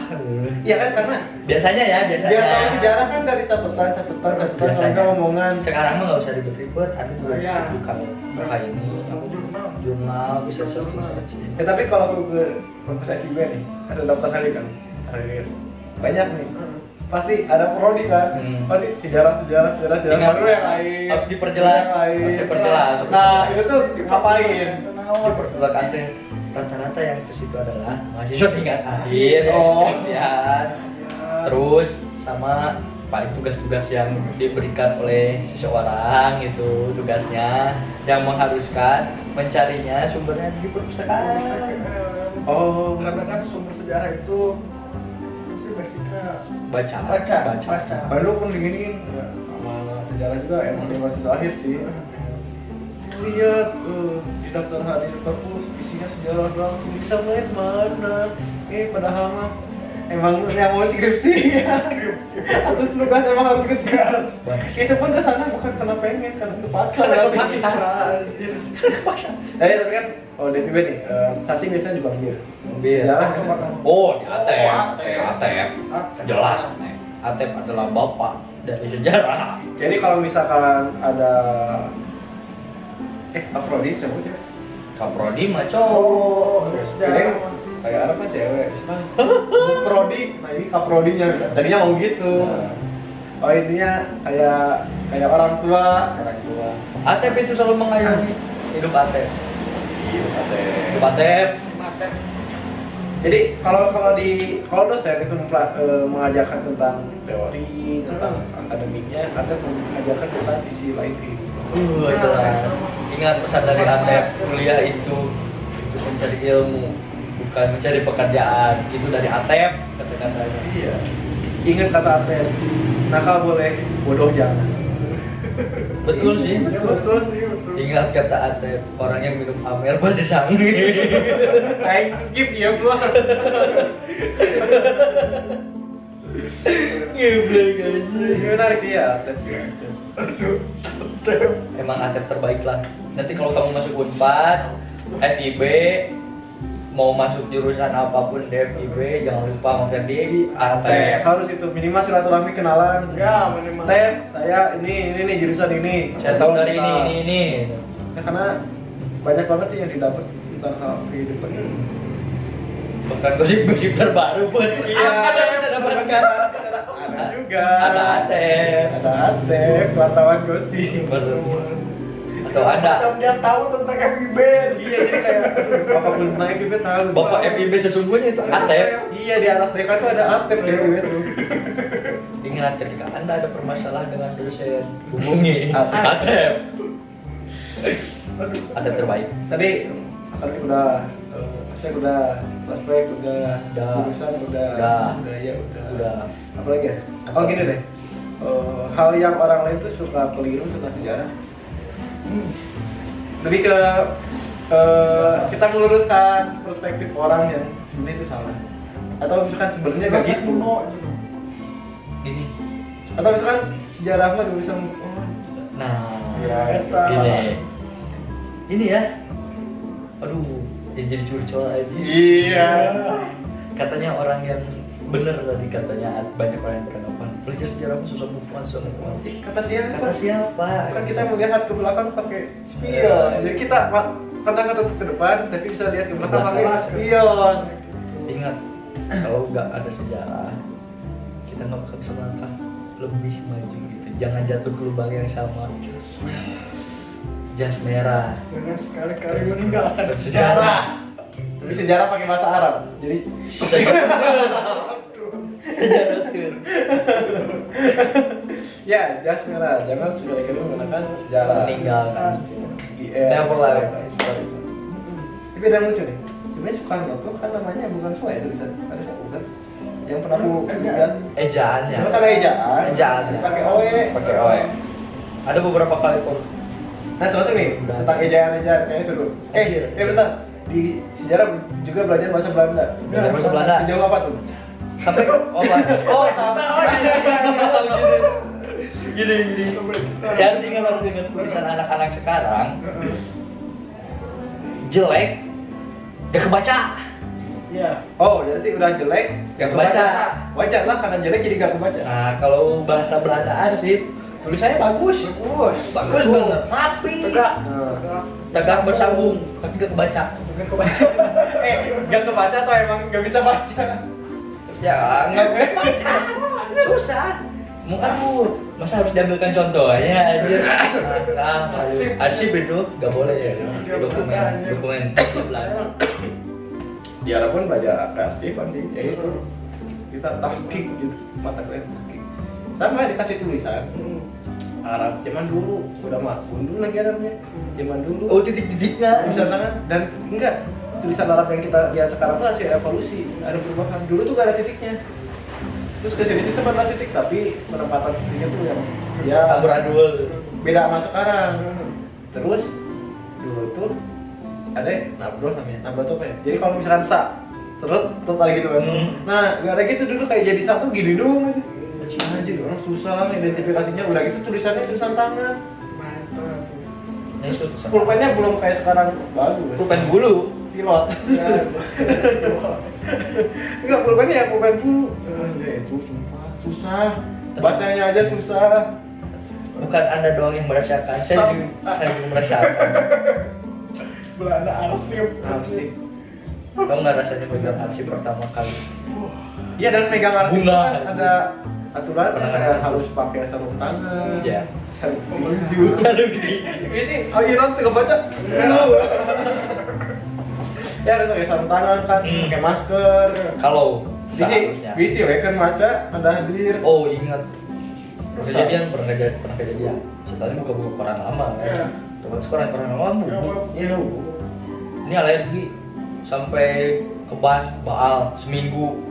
S1: iya kan karena
S2: Biasanya ya, biasanya.
S1: dia tahu sejarah kan dari catatan, catatan, catatan,
S2: Biasanya.
S1: sampai omongan.
S2: sekarang mah nggak usah ribet-ribet ada juga
S3: Iya.
S2: bisa buka buka ini
S3: Jurnal.
S2: jurnal bisa searching searching
S1: Ya, tapi kalau aku ke perpus juga nih, ada daftar hari kan, hari banyak nih. Pasti ada prodi kan,
S2: Hmm.
S1: pasti sejarah, sejarah, sejarah, sejarah.
S2: Tinggal
S1: Baru yang lain,
S2: harus diperjelas,
S1: yang lain.
S2: harus diperjelas.
S1: Nah itu tuh ngapain?
S2: di
S3: Kenapa?
S2: perpustakaan teh rata-rata yang ke situ adalah mahasiswa tingkat akhir
S1: Oh.
S2: skripsian iya, terus sama paling tugas-tugas yang diberikan oleh seseorang itu tugasnya yang mengharuskan mencarinya sumbernya di perpustakaan
S1: Oh,
S3: Karena kan Eh, sumber sejarah itu sih basicnya
S2: baca
S3: baca,
S2: baca,
S1: baru Nah, pun diginiin sama sejarah juga emang dia masih terakhir sih lihat eh, di daftar hari di kampus isinya sejarah doang tuh bisa main mana eh padahal mah
S4: Emang yang mau skripsi Atas tugas emang harus ke Sias. Itu pun ke sana bukan karena pengen, karena kepaksa.
S1: Karena kepaksa. Tapi tapi kan kalau DPB nih, eh, sasi biasanya juga bir. Sejarah kan.
S2: Oh, di Atep.
S4: Oh, Atep.
S2: Atep.
S3: Atep.
S2: E Jelas Atep. Atep adalah bapak dari sejarah.
S1: Jadi kalau misalkan ada eh Afrodit cowok ya.
S2: Kaprodi mah cowok.
S3: Oh,
S1: Jadi
S3: sejarah.
S1: kayak Arab kan cewek, siapa? Prodi, nah ini kaprodinya bisa. Tadinya mau gitu. Oh intinya kayak kayak orang tua, orang tua.
S2: Atep E itu selalu mengayomi hidup Atep.
S1: Iya, katanya.
S2: Hidup E Atep.
S1: Jadi kalau kalau di kalau dosen itu mempla- eh, mengajarkan tentang teori tentang akademiknya, atau mengajarkan tentang sisi lain kehidupan.
S2: Uh, jelas. Ingat pesan dari Atep, kuliah itu itu mencari ilmu, bukan mencari pekerjaan. Itu dari Atep kata-katanya.
S1: Iya. Ingat kata Apel, nakal boleh, bodoh jangan.
S2: Iya, Betul sih.
S3: Ya, betul sih, betul.
S2: Ingat kata Atep, orang yang minum Amer pasti canggih.
S4: Aing skip dia gua.
S2: Ngebleng aja.
S1: Ini menarik sih ya, Apel.
S2: Emang Atep terbaik lah. Nanti kalau kamu masuk Unpad, FIB, mau masuk jurusan apapun di FIB, jangan lupa sama Ferdi, Atep.
S1: Harus itu minimal silaturahmi kenalan.
S3: Ya, minimal.
S1: Tep, saya ini ini nih jurusan ini.
S2: Saya tahu dari ini,
S1: Nah,
S2: ini, ini.
S1: Ya, karena banyak banget sih yang didapat tentang hal kehidupan.
S3: Hmm.
S2: Bukan gosip-gosip terbaru pun. Iya. Ada yang bisa dapatkan.
S1: Ada juga.
S2: Ada Atep.
S1: Ada Atep, wartawan gosip.
S2: Atau ada
S3: Macam dia tahu tentang FIB.
S1: Iya, jadi kayak aduh, apapun tentang FIB tahu.
S2: Bapak FIB sesungguhnya itu Atep.
S1: Iya, di atas mereka tuh ada Atep di FIB tuh.
S2: Ingat ketika Anda ada permasalahan dengan dosen, hubungi
S1: Atep.
S2: Atep. Atep terbaik.
S1: Tadi kan udah eh, aspek udah, aspek udah,
S2: Udah.
S1: jurusan udah,
S2: Udah.
S1: budaya udah.
S2: Udah.
S1: Apa lagi ya? Oh gini deh. Eh, hal yang orang lain tuh suka keliru tentang sejarah. Hmm. Lebih ke eh, kita meluruskan perspektif orang yang sebenarnya itu salah. Atau misalkan sebenarnya gak
S2: Iya.
S1: gitu.
S2: Gini.
S1: Atau misalkan sejarah mah gak bisa move on.
S2: Nah,
S3: Ya, eta.
S2: gini. Ini ya. Aduh, ya jadi curcol aja.
S3: Iya.
S2: Katanya orang yang bener tadi katanya banyak orang yang beranggapan belajar sejarah mah susah move on, susah move on.
S1: Ih, kata siapa?
S2: Kata siapa?
S1: kan kita melihat ke belakang pakai spion jadi kita ma- pernah tetap ke depan tapi bisa lihat ke belakang pakai
S3: Belakang.
S1: spion
S2: Ingat, kalau nggak ada sejarah, kita nggak bakal bisa melangkah lebih maju gitu. Jangan jatuh ke lubang yang sama. Jas merah.
S3: Jangan sekali-kali meninggalkan sejarah.
S2: Sejarah.
S1: tapi sejarah pakai bahasa Arab jadi
S2: Sejarah tuh.
S1: ya jas merah jangan sekali-kali menggunakan sejarah Iya,
S2: Meninggalkan.
S1: IS,
S2: Never lie.
S1: story. tapi ada yang lucu nih sebenarnya Soekarno tuh kan namanya bukan Soe itu bisa ada siapa bukan yang pernah aku kan
S2: Ejaannya.
S1: cuma karena ejaan
S2: Ejaan.
S1: pakai oe
S2: ya. Pakai ya? oe. Ada beberapa kali pun.
S1: Nah termasuk nih tentang ejaan-ejaan kayaknya seru. Eh,
S2: Anjir.
S1: eh bentar di sejarah juga belajar bahasa Belanda.
S2: Belajar bahasa Belanda.
S1: Sejauh apa tuh?
S2: Sampai oh Pak. Oh, iya, tahu. iya. Gini gini. Ya harus ingat harus ingat tulisan anak-anak sekarang jelek gak kebaca.
S3: Iya.
S1: Oh, jadi udah jelek,
S2: Gak kebaca.
S1: Wajar lah karena jelek jadi gak kebaca.
S2: Nah, kalau bahasa Belandaan sih tulisannya bagus.
S3: Bagus.
S2: Bagus banget. Rapi.
S3: Tegak.
S1: Nah.
S3: Tegak.
S2: Tegak bersambung, tapi gak kebaca.
S3: Bukan kebaca.
S1: eh, gak kebaca atau emang gak bisa baca?
S2: Ya, nggak kebaca. Susah. Mau aduh, masa harus diambilkan contohnya aja. Nah, nah,
S3: Arsip.
S2: arsip itu nggak boleh ya. Dokumen, dokumen Belanda.
S1: Di Arab pun belajar arsip anjing. Ya itu kita tahqiq gitu, mata kuliah tahqiq. Sama dikasih tulisan Arab zaman dulu, udah mah gundul lagi Arabnya. Zaman dulu.
S2: Oh, titik-titiknya.
S1: tulisan tangan dan enggak tulisan Arab yang kita lihat sekarang tuh hasil evolusi ada perubahan dulu tuh gak ada titiknya terus ke sini situ pernah titik tapi penempatan titiknya tuh yang ya
S2: Tabur adul.
S1: beda sama sekarang terus dulu tuh ada nabroh namanya nabroh tuh apa ya jadi kalau misalkan sa terus terus lagi gitu kan
S2: Hmm.
S1: nah gara gitu dulu kayak jadi satu gini doang aja Anjing aja orang susah identifikasinya udah gitu tulisannya tulisan tangan
S3: mantap
S2: Ya, itu susah.
S1: pulpennya belum kayak sekarang bagus
S2: pulpen bulu
S1: pilot
S3: ya
S1: enggak pulpennya ya pulpen dulu ya itu sumpah susah bacanya aja susah
S2: bukan anda doang yang merasakan saya juga, saya juga merasakan
S3: Belanda arsip
S1: arsip
S2: tau nggak rasanya pegang arsip pertama kali
S1: Iya dan pegang arsip
S2: Bunga.
S1: kan ada aturan
S2: Penanganan
S1: kayak
S2: kasus.
S1: harus pakai sarung tangan.
S2: Iya.
S1: Sarung
S3: Menuju.
S2: Aduh, di
S1: Oh, iya. Ini sih, oh iya nanti kebaca. Iya. ya harus pakai sarung tangan kan,
S2: Hmm.
S1: pakai masker.
S2: kalau
S1: Bisi,
S2: seharusnya
S1: bisi we kan maca, ada hadir.
S2: oh ingat
S1: Rusak.
S2: kejadian pernah jadi pernah kejadian ceritanya buka buka koran lama
S3: Iya.
S2: kan terus koran koran lama bu
S3: Iya, Bu.
S2: iya bu ini alergi sampai kebas baal seminggu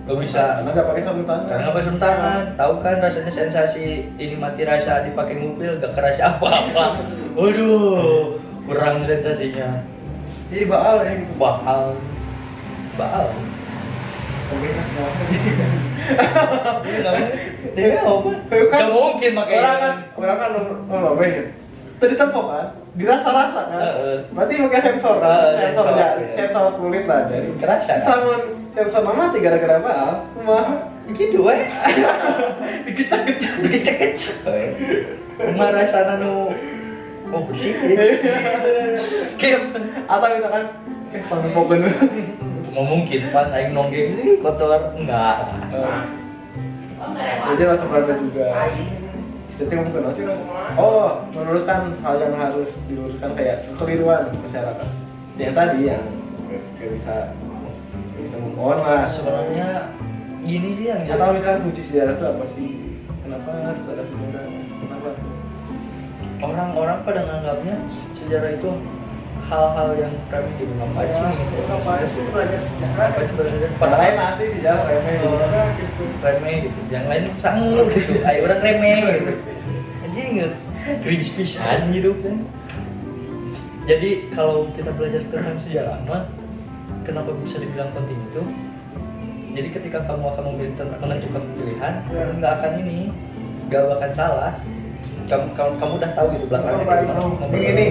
S2: nggak bisa
S1: Karena nggak pakai sarung tangan.
S2: karena nggak pakai tangan tahu kan rasanya sensasi ini mati rasa dipakai mobil gak kerasa apa apa waduh kurang sensasinya
S1: Jadi baal ya gitu.
S2: baal baal
S1: nah,
S2: Dia Iya, apa?
S1: Eh, Iya, kan
S2: Gak mungkin pakai
S1: Orang kan, orang kan nomor- nomor we ya. Tadi tepok kan, dirasa-rasa kan.
S2: Heeh.
S1: Berarti pakai sensor kan,
S2: Heeh,
S1: sensor,
S2: sensor,
S1: jari,
S2: iya.
S1: sensor kulit lah jadi.
S2: Kerasa, kan?
S1: Selamun sensor mama mati gara-gara baal, mah
S2: gitu we
S1: dikecak-kecak.
S2: dikecek-kecek we cuma rasanya nu oh bersih skip
S1: Atau misalkan, eh panggil pokokin lu.
S2: mau mungkin pan aing nonggeng "Ih, kotor enggak
S1: Eh, Jadi langsung berangkat juga. Jadi kamu kenal sih Ron? Oh, meluruskan hal yang harus diluruskan kayak keliruan masyarakat. Yang tadi yang nggak bisa nggak bisa move on lah.
S2: sebenarnya gini sih yang
S1: Atau
S2: jadi
S1: misalnya kunci sejarah itu apa sih? Kenapa harus ada sejarah? Kenapa?
S2: orang-orang pada nganggapnya sejarah itu hal-hal yang kami gitu ngapain sih gitu
S3: Ngapain sih belajar sejarah?
S2: Ngapain sih belajar sejarah?
S1: Pada lain
S2: padahal
S1: masih sejarah ya, remeh.
S3: Orang gitu
S2: remeh gitu yang lain sanggup gitu ayo orang remeh gitu anjing gitu. cringe pisan hidup kan jadi kalau kita belajar tentang sejarah mah kenapa bisa dibilang penting itu jadi ketika kamu akan memilih menentukan pilihan
S3: Ya.
S2: kamu nggak akan ini nggak akan salah kamu, kamu, kamu udah tahu gitu belakangnya kayak gimana,
S1: Ini,
S2: memperbaiki.
S1: ini.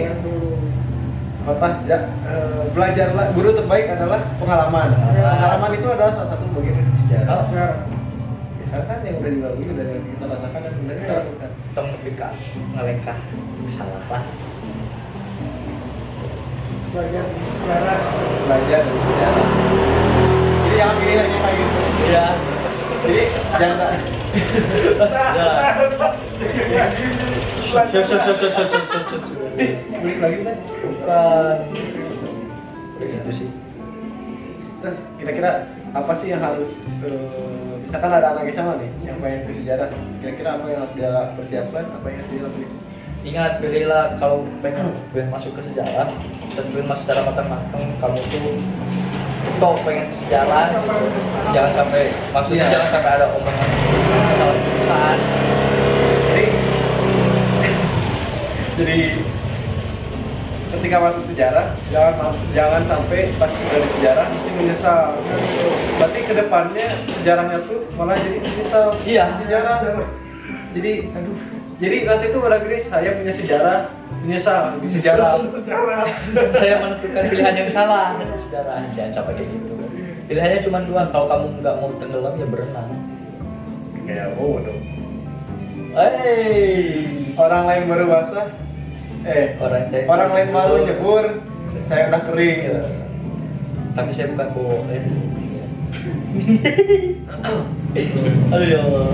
S1: Apa? Ya, eh, belajarlah. Guru terbaik adalah pengalaman.
S2: Pengalaman.
S1: Pengalaman itu adalah salah satu bagian dari sejarah.
S2: Oh.
S3: Sejarah.
S1: Karena kan yang udah dilalui udah yang kita rasakan dan udah kita lakukan.
S2: tong deka ngelengkah salah lah
S3: belajar sejarah
S1: Belajar dari sejarah. Jadi jangan pilihannya kayak gitu.
S2: iya
S1: Jadi jangan
S2: Siap, siap, siap, siap, siap, siap, siap, siap, siap.
S1: balik lagi kan.
S2: bukan begitu sih
S1: Terus kira-kira apa sih yang harus eh, misalkan ada anak SMA nih yang pengen ke sejarah. Kira-kira apa yang harus dia persiapkan? Apa yang harus dia lakukan?
S2: ingat pilihlah kalau pengen pengen masuk ke sejarah tentuin mas secara matang-matang kamu tuh kok pengen ke sejarah gitu.
S3: 呃
S2: jangan sampai maksudnya
S1: Iya.
S2: jangan sampai ada omongan salah tulisan
S1: Jadi jadi ketika masuk sejarah jangan jangan sampai pas dari sejarah mesti menyesal berarti kedepannya sejarahnya tuh malah jadi menyesal
S2: Iya.
S1: sejarah jadi aduh jadi nanti tuh pada gini saya punya sejarah menyesal di sejarah
S3: sejarah
S2: saya menentukan pilihan yang salah sejarah jangan sampai kayak gitu pilihannya cuma dua kalau kamu nggak mau tenggelam ya berenang
S1: kayak
S3: 哎
S1: oh dong
S2: Hey,
S1: orang lain baru basah
S3: 哎
S1: eh
S2: orang teh
S1: orang lain baru nyebur saya udah kering gitu.
S2: tapi saya bukan bohong ya. Aduh ya Allah.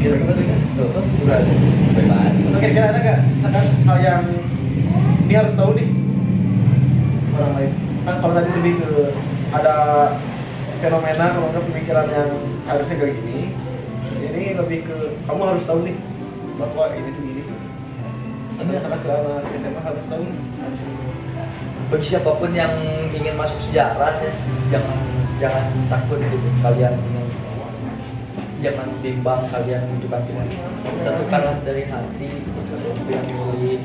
S1: Kira-kira tuh kan?
S2: Tuh,
S1: Udah ada.
S2: bebas.
S1: Oke, kira-kira ada nggak misalkan hal yang ini harus tahu nih orang lain? Kan kalau tadi lebih ke ada fenomena kalau nggak pemikiran yang harusnya kayak gini. Di sini lebih ke kamu harus tahu nih bahwa ini tuh gini tuh. Ini sama ke anak SMA harus tahu nih. Harus
S2: Bagi siapapun yang ingin masuk sejarah ya, jangan jangan takut gitu kalian ingin jangan bimbang kalian menentukan pilihan tentukanlah dari hati yang dipilih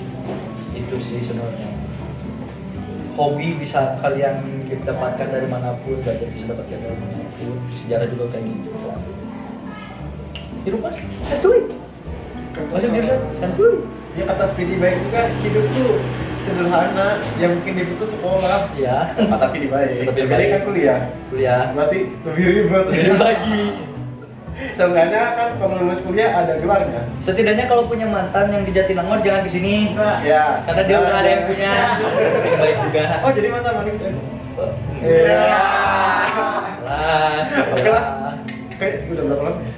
S2: itu sih sebenarnya hobi bisa kalian dapatkan dari manapun belajar bisa dapatkan dari manapun sejarah juga kayak gitu hidup mas santuy masuk jurusan santuy
S1: ya kata Pidi baik itu kan hidup tuh sederhana yang mungkin itu tuh sekolah
S2: ya
S1: kata Pidi baik
S2: Kata Pidi
S1: tapi dia
S2: baik.
S1: kan kuliah
S2: kuliah
S1: berarti lebih ribet
S2: hidup lagi
S1: seenggaknya kan kalau lulus kuliah ada kan? gelarnya
S2: setidaknya kalau punya mantan yang di Jatinangor jangan kesini
S1: ya
S2: karena dia udah ada yang punya yang baik juga
S1: oh jadi mata manis ya
S3: 哎
S2: Iya. Kelas.
S1: Oke lah. kayak udah berapa lama ya?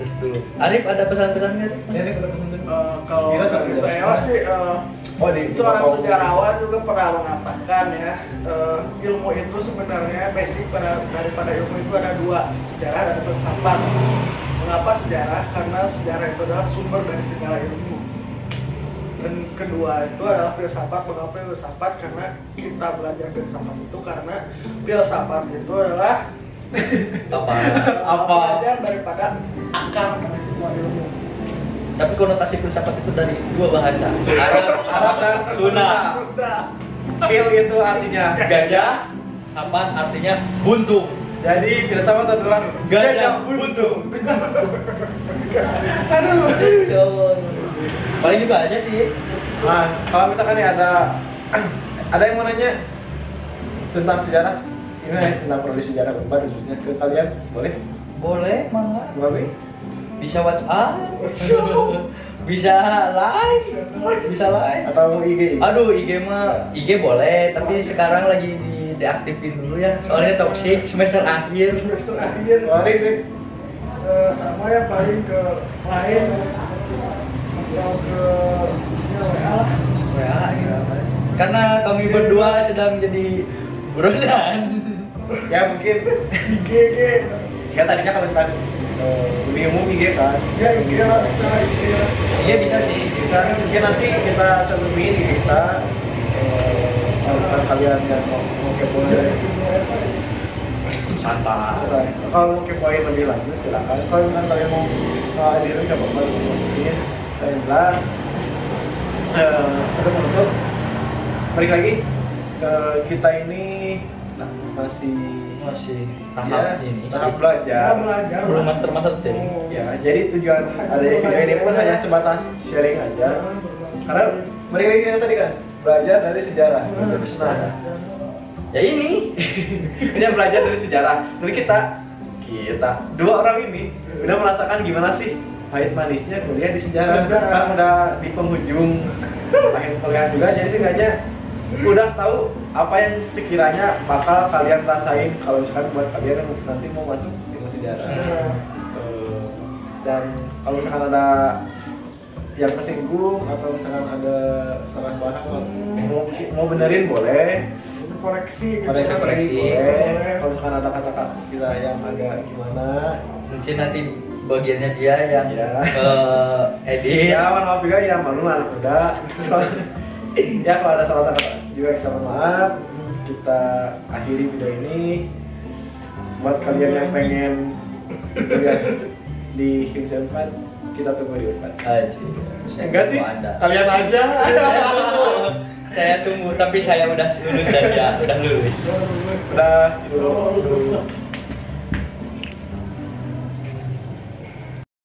S2: Terus dulu. Arif ada pesan-pesan nggak?
S1: Ya, ini udah pesan dulu.
S3: Eh, kalau
S1: Kira
S3: dari
S1: sampai
S3: saya
S1: berapa?
S3: sih eh,
S1: Oh, di-
S3: seorang
S1: di-
S3: sejarawan juga pernah mengatakan ya eh, ilmu itu sebenarnya basic pada- daripada ilmu itu ada dua sejarah dan filsafat. Mengapa sejarah? Karena sejarah itu adalah sumber dari segala ilmu. Dan kedua itu adalah filsafat. Mengapa filsafat? Karena kita belajar filsafat itu karena filsafat itu adalah
S2: Apa?
S1: Apa?
S3: belajar daripada akar dari semua ilmu.
S2: Tapi konotasi filsafat itu dari dua bahasa. Arab,
S1: Arab dan
S2: Sunda.
S3: Sudah.
S1: Pil itu artinya gajah.
S2: Sapat artinya buntung.
S1: Jadi filsafat adalah
S2: Gajah
S1: buntung. Aduh.
S2: Ya Allah. Paling juga aja sih.
S1: Nah, kalau misalkan nih ada ada yang mau nanya tentang sejarah ini ya, tentang prodi sejarah Unpad khususnya ke kalian boleh
S2: Boleh, mangga.
S1: Mbak Wi?
S2: Bisa WhatsApp. Bisa live. Bisa live.
S1: atau IG
S2: Aduh, IG mah IG boleh, tapi sekarang lagi di deaktifin dulu ya. Soalnya toxic semester akhir.
S3: Semester akhir.
S1: Mari sih
S3: Eh, sama ya paling ke lain atau ke ya, WA lah.
S2: Ya, iya. Karena kami berdua sedang jadi buronan.
S1: ya mungkin
S3: IG IG
S1: ya tadinya kalau misalkan eh, lebih umum IG kan
S3: ya IG lah bisa lah, IG lah.
S2: Iya bisa sih.
S1: bisa mungkin nanti kita cantumin di kita eh, kalau misalkan kalian yang mau mau
S3: ya.
S1: kepoin
S2: Santai.
S1: kalau mau kepoin lebih lanjut silakan kalau misalkan kalian mau eh, hadirin nggak apa-apa masukin yang jelas eh, untuk menutup balik lagi ke kita ini nah, masih
S2: Masih
S1: ya,
S2: tahap
S1: tahap
S2: ini sih.
S3: Kita
S1: belajar
S3: Ya, belajar
S2: Belum
S3: lah. Oh.
S2: master-master thing.
S3: Mau-
S1: ya jadi tujuan ada video ini pun hanya sebatas sharing aja
S3: Ya, berbagi.
S1: karena mereka yang tadi kan belajar dari sejarah nah
S2: Ya ini.
S1: dia belajar dari sejarah dari kita kita dua orang ini udah merasakan gimana sih pahit manisnya kuliah di sejarah
S3: Sejarah.
S1: sekarang udah di penghujung akhir kuliah juga jadi sih kayaknya udah tahu apa yang sekiranya bakal kalian rasain kalau misalkan buat kalian yang nanti mau masuk ilmu sejarah
S3: Ya.
S1: Eh, dan kalau misalkan ada yang kesinggung atau misalkan ada salah paham
S3: Hmm.
S1: mau, mau benerin boleh
S3: koreksi
S1: ada
S2: Koreksi,
S1: yang
S2: koreksi.
S1: boleh kalau misalkan ada kata-kata kita yang agak gimana
S2: Mungkin nanti bagiannya dia yang
S1: Iya.
S2: eh, edit.
S1: ya mohon maaf juga ya malu anak muda ya kalau ada salah kata juga kita mohon maaf kita akhiri video ini buat kalian yang pengen kuliah di Himsa 4 kita tunggu di 4
S2: Aji. Saya
S1: enggak sih
S2: tunggu Anda.
S1: kalian aja
S2: Saya tunggu. Saya ya, tunggu, tapi saya udah lulus dan ya udah lulus.
S1: udah dulu